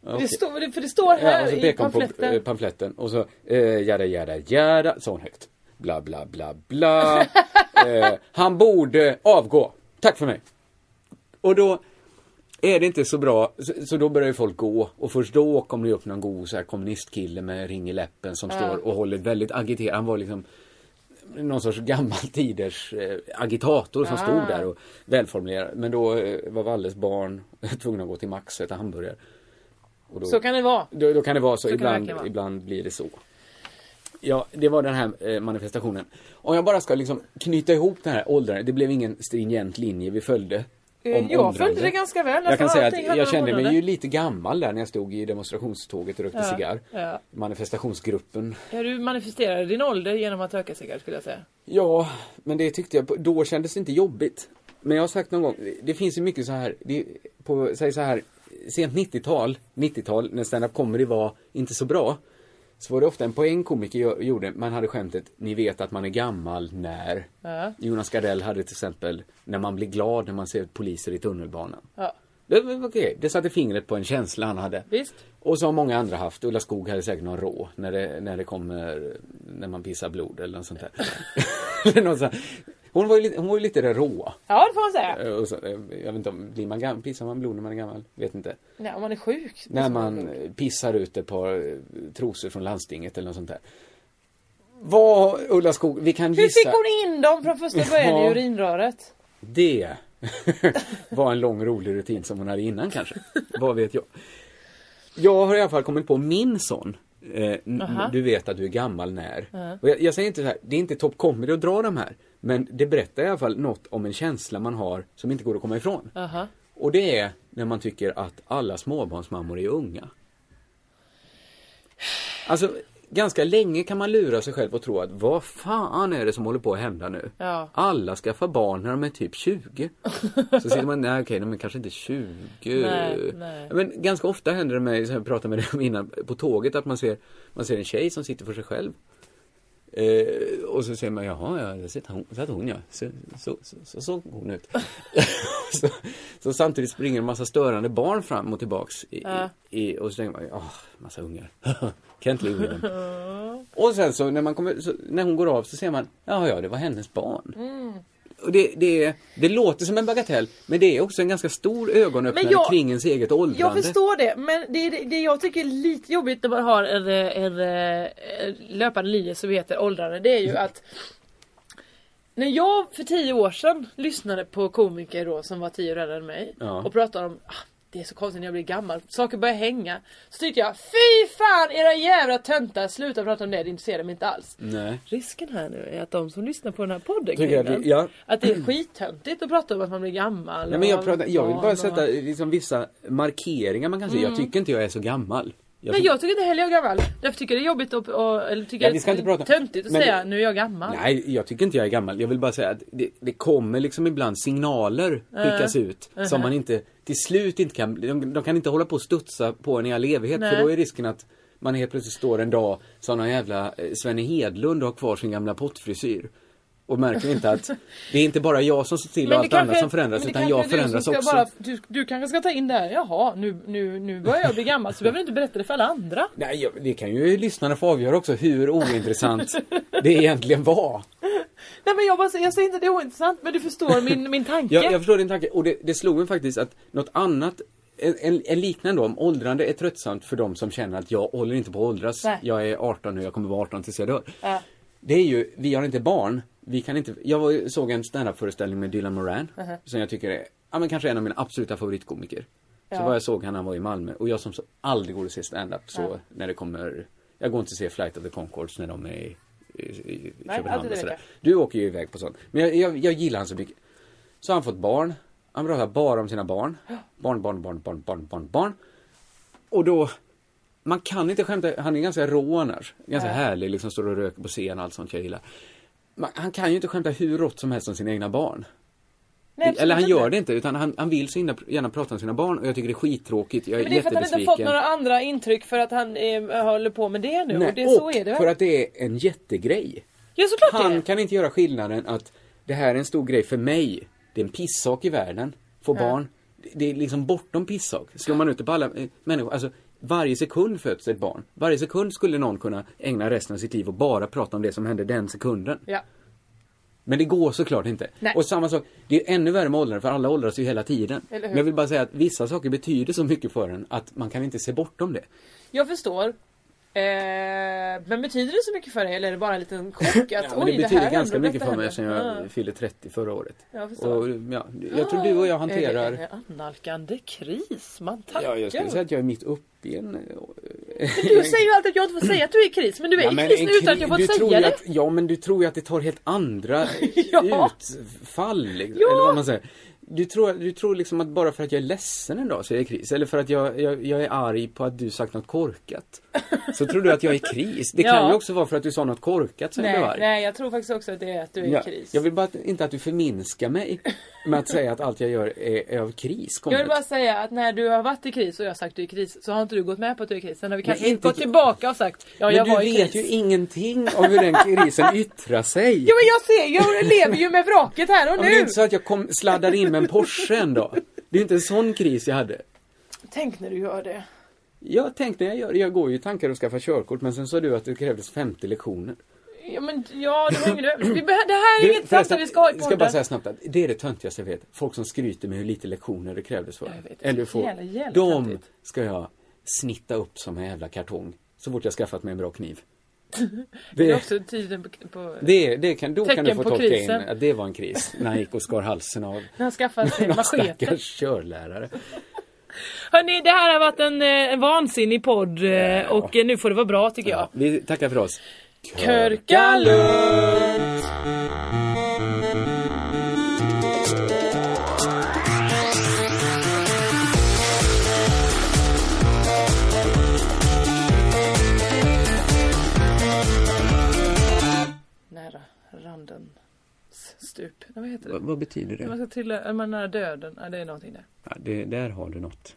Speaker 2: Ja, okej.
Speaker 7: Det står, det- för det står
Speaker 2: Ja,
Speaker 7: här
Speaker 2: och så
Speaker 7: i
Speaker 2: pekar hon på eh,
Speaker 7: pamfletten.
Speaker 2: pamfletten och så eh, jada jada jada, sa hon högt. Bla bla bla bla. eh, han borde avgå. Tack för mig. Och då är det inte så bra, så, så då börjar ju folk gå och först då kommer det upp någon god så här, kommunistkille med ring i läppen som
Speaker 7: Ja.
Speaker 2: står och håller väldigt agiterad. Han var liksom någon sorts gammaltiders eh, agitator som
Speaker 7: Ah.
Speaker 2: stod där och välformulerad. Men då eh, var Valles barn tvungna att gå till Max och äta hamburgare. Och då-
Speaker 7: Så kan det vara.
Speaker 2: då, då kan det vara så.
Speaker 7: Så kan det
Speaker 2: ibland,
Speaker 7: verkligen vara.
Speaker 2: ibland blir det så. Ja, det var den här eh, manifestationen. Om jag bara ska liksom knyta ihop den här åldrandet. Det blev ingen stringent linje vi följde. Om
Speaker 7: Eh, jag följde
Speaker 2: åldrande.
Speaker 7: det ganska väl.
Speaker 2: Jag kan
Speaker 7: Nästan
Speaker 2: säga
Speaker 7: allting
Speaker 2: att
Speaker 7: handlar
Speaker 2: jag
Speaker 7: om
Speaker 2: kände mig
Speaker 7: åldrande.
Speaker 2: ju lite gammal där när jag stod i demonstrationståget och rökte
Speaker 7: Ja,
Speaker 2: cigarr.
Speaker 7: ja.
Speaker 2: Manifestationsgruppen.
Speaker 7: Ja, du manifesterade din ålder genom att röka cigarr skulle jag säga.
Speaker 2: Ja, men det tyckte jag, på- då kändes det inte jobbigt. Men jag har sagt någon gång, det finns ju mycket så här, det, på, säg så här, sent 90-tal, 90-tal när stand-up comedy var inte så bra. Så var det ofta en poäng komiker gö- gjorde, man hade skämtet, ni vet att man är gammal när.
Speaker 7: Ja.
Speaker 2: Jonas Gardell hade till exempel, när man blir glad när man ser poliser i tunnelbanan.
Speaker 7: Ja,
Speaker 2: Det, var- var okej, det satte fingret på en känsla han hade.
Speaker 7: visst.
Speaker 2: Och så har många andra haft, Ulla Skog hade säkert någon rå när det, när det kommer, när man pissar blod eller något sånt där. Eller något sånt. hon var ju lite, hon var ju lite det råa.
Speaker 7: Ja, det får man säga.
Speaker 2: Eh, Och så, eh, jag vet inte om, blir man gam, pissar man blod när man är gammal? Vet inte.
Speaker 7: Nej, om man är sjuk.
Speaker 2: När man eh, pissar ut ett par eh, trosor från landstinget eller något sånt där. Vad, Ulla Skog, vi kan
Speaker 7: Hur
Speaker 2: gissa.
Speaker 7: fick hon in dem från första början i
Speaker 2: Ja.
Speaker 7: urinröret?
Speaker 2: Det var en lång rolig rutin som hon hade innan kanske. Vad vet jag. Jag har i alla fall kommit på min son. Eh, n-
Speaker 7: Aha.
Speaker 2: du vet att du är gammal när.
Speaker 7: Ja.
Speaker 2: Och jag, jag säger inte så här, det är inte top comedy att dra de här. Men det berättar i alla fall något om en känsla man har som inte går att komma ifrån.
Speaker 7: Aha.
Speaker 2: Och det är när man tycker att alla småbarnsmammor är unga. Alltså, ganska länge kan man lura sig själv och tro att vad fan är det som håller på att hända nu?
Speaker 7: Ja.
Speaker 2: Alla skaffar barn när de är typ 20. Så sitter man, nej okej, de är kanske inte 20.
Speaker 7: Nej, nej.
Speaker 2: Men ganska ofta händer det mig, som jag pratade med dig om innan, på tåget att man ser, man ser en tjej som sitter för sig själv. Eh, och så säger man, jaha, ja, där satt hon, satt hon ja. Så, så, så, så såg hon ut. så, så samtidigt springer en massa störande barn fram och tillbaks. I,
Speaker 7: Ja.
Speaker 2: i, och så tänker man, ja, massa ungar. kan inte leva med dem. Och sen så när, man kommer, så när hon går av så ser man, ja ja det var hennes barn.
Speaker 7: Mm.
Speaker 2: Och det, det, är- det låter som en bagatell men det är också en ganska stor ögonöppnare
Speaker 7: Men jag-
Speaker 2: kring ens eget åldrande.
Speaker 7: Jag förstår det, men det, det, det jag tycker är lite jobbigt när man har en, eh, en, eh, en löpande linje som heter åldrande, det är ju att när jag för tio år sedan lyssnade på komiker då som var tio år äldre än mig
Speaker 2: Ja.
Speaker 7: och pratade om ah, det är så konstigt när jag blir gammal, saker börjar hänga. Så tyckte jag, fy fan era jävla töntar, sluta prata om det, det intresserar mig inte alls.
Speaker 2: Nej.
Speaker 7: Risken här nu är att de som lyssnar på den här podden
Speaker 2: Tycker att
Speaker 7: Kevin,
Speaker 2: vi- ja.
Speaker 7: att det är skittöntigt att prata om att man blir gammal.
Speaker 2: Nej, men jag,
Speaker 7: och-
Speaker 2: pratar, jag vill
Speaker 7: Ja,
Speaker 2: bara sätta
Speaker 7: och-
Speaker 2: liksom, vissa markeringar man kan säga. Jag tycker inte jag är så gammal. Jag
Speaker 7: Nej
Speaker 2: tycker-
Speaker 7: Mm. jag tycker inte heller jag är gammal. Därför tycker jag det är jobbigt att, och, eller tycker
Speaker 2: Ja,
Speaker 7: jag
Speaker 2: vi ska
Speaker 7: det är
Speaker 2: inte prata-
Speaker 7: töntigt att
Speaker 2: men-
Speaker 7: säga nu är jag gammal.
Speaker 2: Nej, jag tycker inte jag är gammal. Jag vill bara säga att det, det kommer liksom ibland signaler
Speaker 7: Eh.
Speaker 2: skickas ut som man inte, till slut inte kan, de, de kan inte hålla på och studsa på en i all evighet
Speaker 7: Nej.
Speaker 2: för då är risken att man helt plötsligt står en dag som någon jävla eh, Svenne Hedlund och har kvar sin gamla pottfrisyr. Och märker inte att det är inte bara jag som ser till och allt annat som förändras
Speaker 7: men det
Speaker 2: utan
Speaker 7: kanske
Speaker 2: jag
Speaker 7: är du som
Speaker 2: förändras
Speaker 7: ska
Speaker 2: också.
Speaker 7: Bara, du, du kanske ska ta in det här, jaha nu, nu, nu börjar jag bli gammal så behöver du inte berätta det för alla andra.
Speaker 2: Nej, jag- det kan ju lyssnarna få avgöra också hur ointressant det egentligen var.
Speaker 7: Nej men jag, bara, säger- jag säger inte att det är ointressant men du förstår min, min tanke.
Speaker 2: Jag, jag förstår din tanke och det, det slog mig faktiskt att något annat, en- en, en liknande om åldrande är tröttsamt för de som känner att jag håller inte på att åldras.
Speaker 7: Nej.
Speaker 2: Jag är 18 nu, jag kommer vara 18 tills jag dör.
Speaker 7: Ja.
Speaker 2: Det är ju, vi har inte barn, vi kan inte, jag var, såg en standup-föreställning med Dylan Moran som jag tycker är, ja men kanske en av mina absoluta favoritkomiker. Så
Speaker 7: Ja.
Speaker 2: var jag såg han när han var i Malmö och jag som så aldrig går och ser standup så när det kommer, jag går inte och ser Flight of the Conchords när de är i- i, i
Speaker 7: Nej,
Speaker 2: Köpenhamn
Speaker 7: alltid
Speaker 2: och sådär.
Speaker 7: vet
Speaker 2: Du åker ju iväg på sånt. Men jag, jag, jag gillar han så mycket. Så har han fått barn. Han pratar bara om sina barn. Barn, barn, barn, barn, barn, barn, barn. Och då, man kan inte skämta, han är ganska rå annars. Ganska
Speaker 11: Nej.
Speaker 2: härlig, liksom står och röker på scen och allt sånt jag gillar. Man, han kan ju inte skämta hur rått som helst om sina egna barn.
Speaker 7: Nej,
Speaker 2: Eller han
Speaker 7: absolut
Speaker 2: gör det inte, utan han, han vill så gärna, gärna prata om sina barn och jag tycker det är skittråkigt. Jag är
Speaker 7: Men det är för att han inte
Speaker 2: jättebesviken.
Speaker 7: har fått några andra intryck för att han eh, håller på med det nu.
Speaker 2: Nej,
Speaker 7: och det, så är det väl?
Speaker 2: för att det är en jättegrej.
Speaker 7: Ja, såklart det
Speaker 2: han
Speaker 7: är.
Speaker 2: kan inte göra skillnaden att det här är en stor grej för mig. Det är en pissak i världen. Få
Speaker 7: Ja.
Speaker 2: barn. Det- Det är liksom bortom pissak. Slår man ut det på alla eh, människor. Alltså, varje sekund föds ett barn. Varje sekund skulle någon kunna ägna resten av sitt liv och bara prata om det som hände den sekunden.
Speaker 7: Ja.
Speaker 2: Men det går såklart inte.
Speaker 7: Nej.
Speaker 2: Och samma sak, det är ännu värre med åldrandet för alla åldras ju hela tiden.
Speaker 7: Eller hur?
Speaker 2: Men jag vill bara säga att vissa saker betyder så mycket för en att man kan inte se bortom det.
Speaker 7: Jag förstår. Eh, men betyder det så mycket för dig eller är det bara en liten chock? Att,
Speaker 2: Ja, men
Speaker 7: Oj,
Speaker 2: det betyder
Speaker 7: här
Speaker 2: ganska
Speaker 7: hände,
Speaker 2: mycket
Speaker 7: detta
Speaker 2: för mig eftersom
Speaker 7: hände."
Speaker 2: jag
Speaker 7: Ja.
Speaker 2: fyllde 30 förra året.
Speaker 7: Jag förstår.
Speaker 2: och, ja, jag tror du och jag
Speaker 7: Är
Speaker 2: hanterar...
Speaker 7: det en annalkande kris? Man tackar.
Speaker 2: ja, jag skulle säga att jag är mitt uppe i en...
Speaker 7: Du säger ju alltid att jag inte får säga att du är i kris, men du är
Speaker 2: Ja,
Speaker 7: i
Speaker 2: men
Speaker 7: kris
Speaker 2: en
Speaker 7: nu utan
Speaker 2: kri-
Speaker 7: att jag
Speaker 2: du
Speaker 7: fått
Speaker 2: tror
Speaker 7: säga
Speaker 2: ju
Speaker 7: det.
Speaker 2: Att, ja, men du tror ju att det tar helt andra utfall. Liksom,
Speaker 7: Ja.
Speaker 2: Eller vad man säger. Du tror, du tror liksom att bara för att jag är ledsen en dag så är jag i kris. Eller för att jag, jag, jag är arg på att du sagt något korkat. Så tror du att jag är i kris. Det kan
Speaker 7: Ja.
Speaker 2: ju också vara för att du sa något korkat som jag blev
Speaker 7: Nej,
Speaker 2: arg.
Speaker 7: nej, jag tror faktiskt också att det är att du är i kris.
Speaker 2: Jag vill bara att, inte att du förminskar mig med att säga att allt jag gör är, är av kris.
Speaker 7: Jag vill bara säga att när du har varit i kris och jag har sagt att du är i kris så har inte du gått med på att du är i kris. Sen har vi kanske
Speaker 2: Nej,
Speaker 7: inte
Speaker 2: inte-
Speaker 7: gått tillbaka och sagt ja,
Speaker 2: Men
Speaker 7: jag
Speaker 2: du
Speaker 7: var i
Speaker 2: vet
Speaker 7: kris.
Speaker 2: ju ingenting om hur den krisen yttrar sig.
Speaker 7: Ja men jag ser ju, jag lever ju med vraket här
Speaker 2: Ja,
Speaker 7: och
Speaker 2: men det är
Speaker 7: nu!
Speaker 2: inte så att jag kom, sladdade in med en Porsche en dag. Det är inte en sån kris jag hade.
Speaker 7: Tänk när du gör det.
Speaker 2: Jag tänkte när jag gör det, jag går ju i tankar att skaffa körkort men sen sa du att det krävdes 50 lektioner.
Speaker 7: Ja men ja, det var ingen vi behö- Det här är
Speaker 2: Du,
Speaker 7: inget
Speaker 2: förresten,
Speaker 7: samtal vi ska ha i
Speaker 2: Ska bara
Speaker 7: podden.
Speaker 2: säga snabbt att det är det töntigaste jag vet. Folk som skryter med hur lite lektioner det krävdes för.
Speaker 7: vet.
Speaker 2: Eller hur få.
Speaker 7: Jävla, jävla
Speaker 2: De ska jag snitta upp som en jävla kartong. Så fort jag skaffat mig en bra kniv.
Speaker 7: Det är också tiden på... på
Speaker 2: Det, det kan, då kan du
Speaker 7: Tecken
Speaker 2: få
Speaker 7: på
Speaker 2: tolka
Speaker 7: krisen.
Speaker 2: in att det var en kris. När han gick och skar halsen av
Speaker 7: När han skaffade sig
Speaker 2: någon
Speaker 7: machete.
Speaker 2: stackars körlärare.
Speaker 7: Hörni, det här har varit en, eh, en vansinnig podd eh, och eh, nu får det vara bra tycker jag.
Speaker 2: Vi tackar för oss.
Speaker 7: Körka lugnt! Nära randens stup. Nej, Vad heter det?
Speaker 2: Vad- vad betyder det?
Speaker 7: När Man ska trilla, är man nära döden? Ja, det är någonting där.
Speaker 2: Ja, det, där har du något.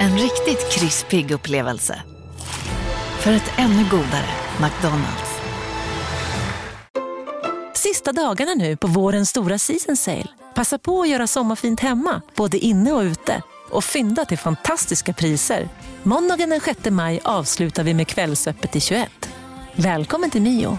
Speaker 12: En riktigt krispig upplevelse. För ett ännu godare McDonalds.
Speaker 13: Sista dagarna nu på vårens stora season sale. Passa på att göra sommarfint hemma, både inne och ute. Och fynda till fantastiska priser. Måndagen den 6 maj avslutar vi med Kvällsöppet i 21. Välkommen till Mio.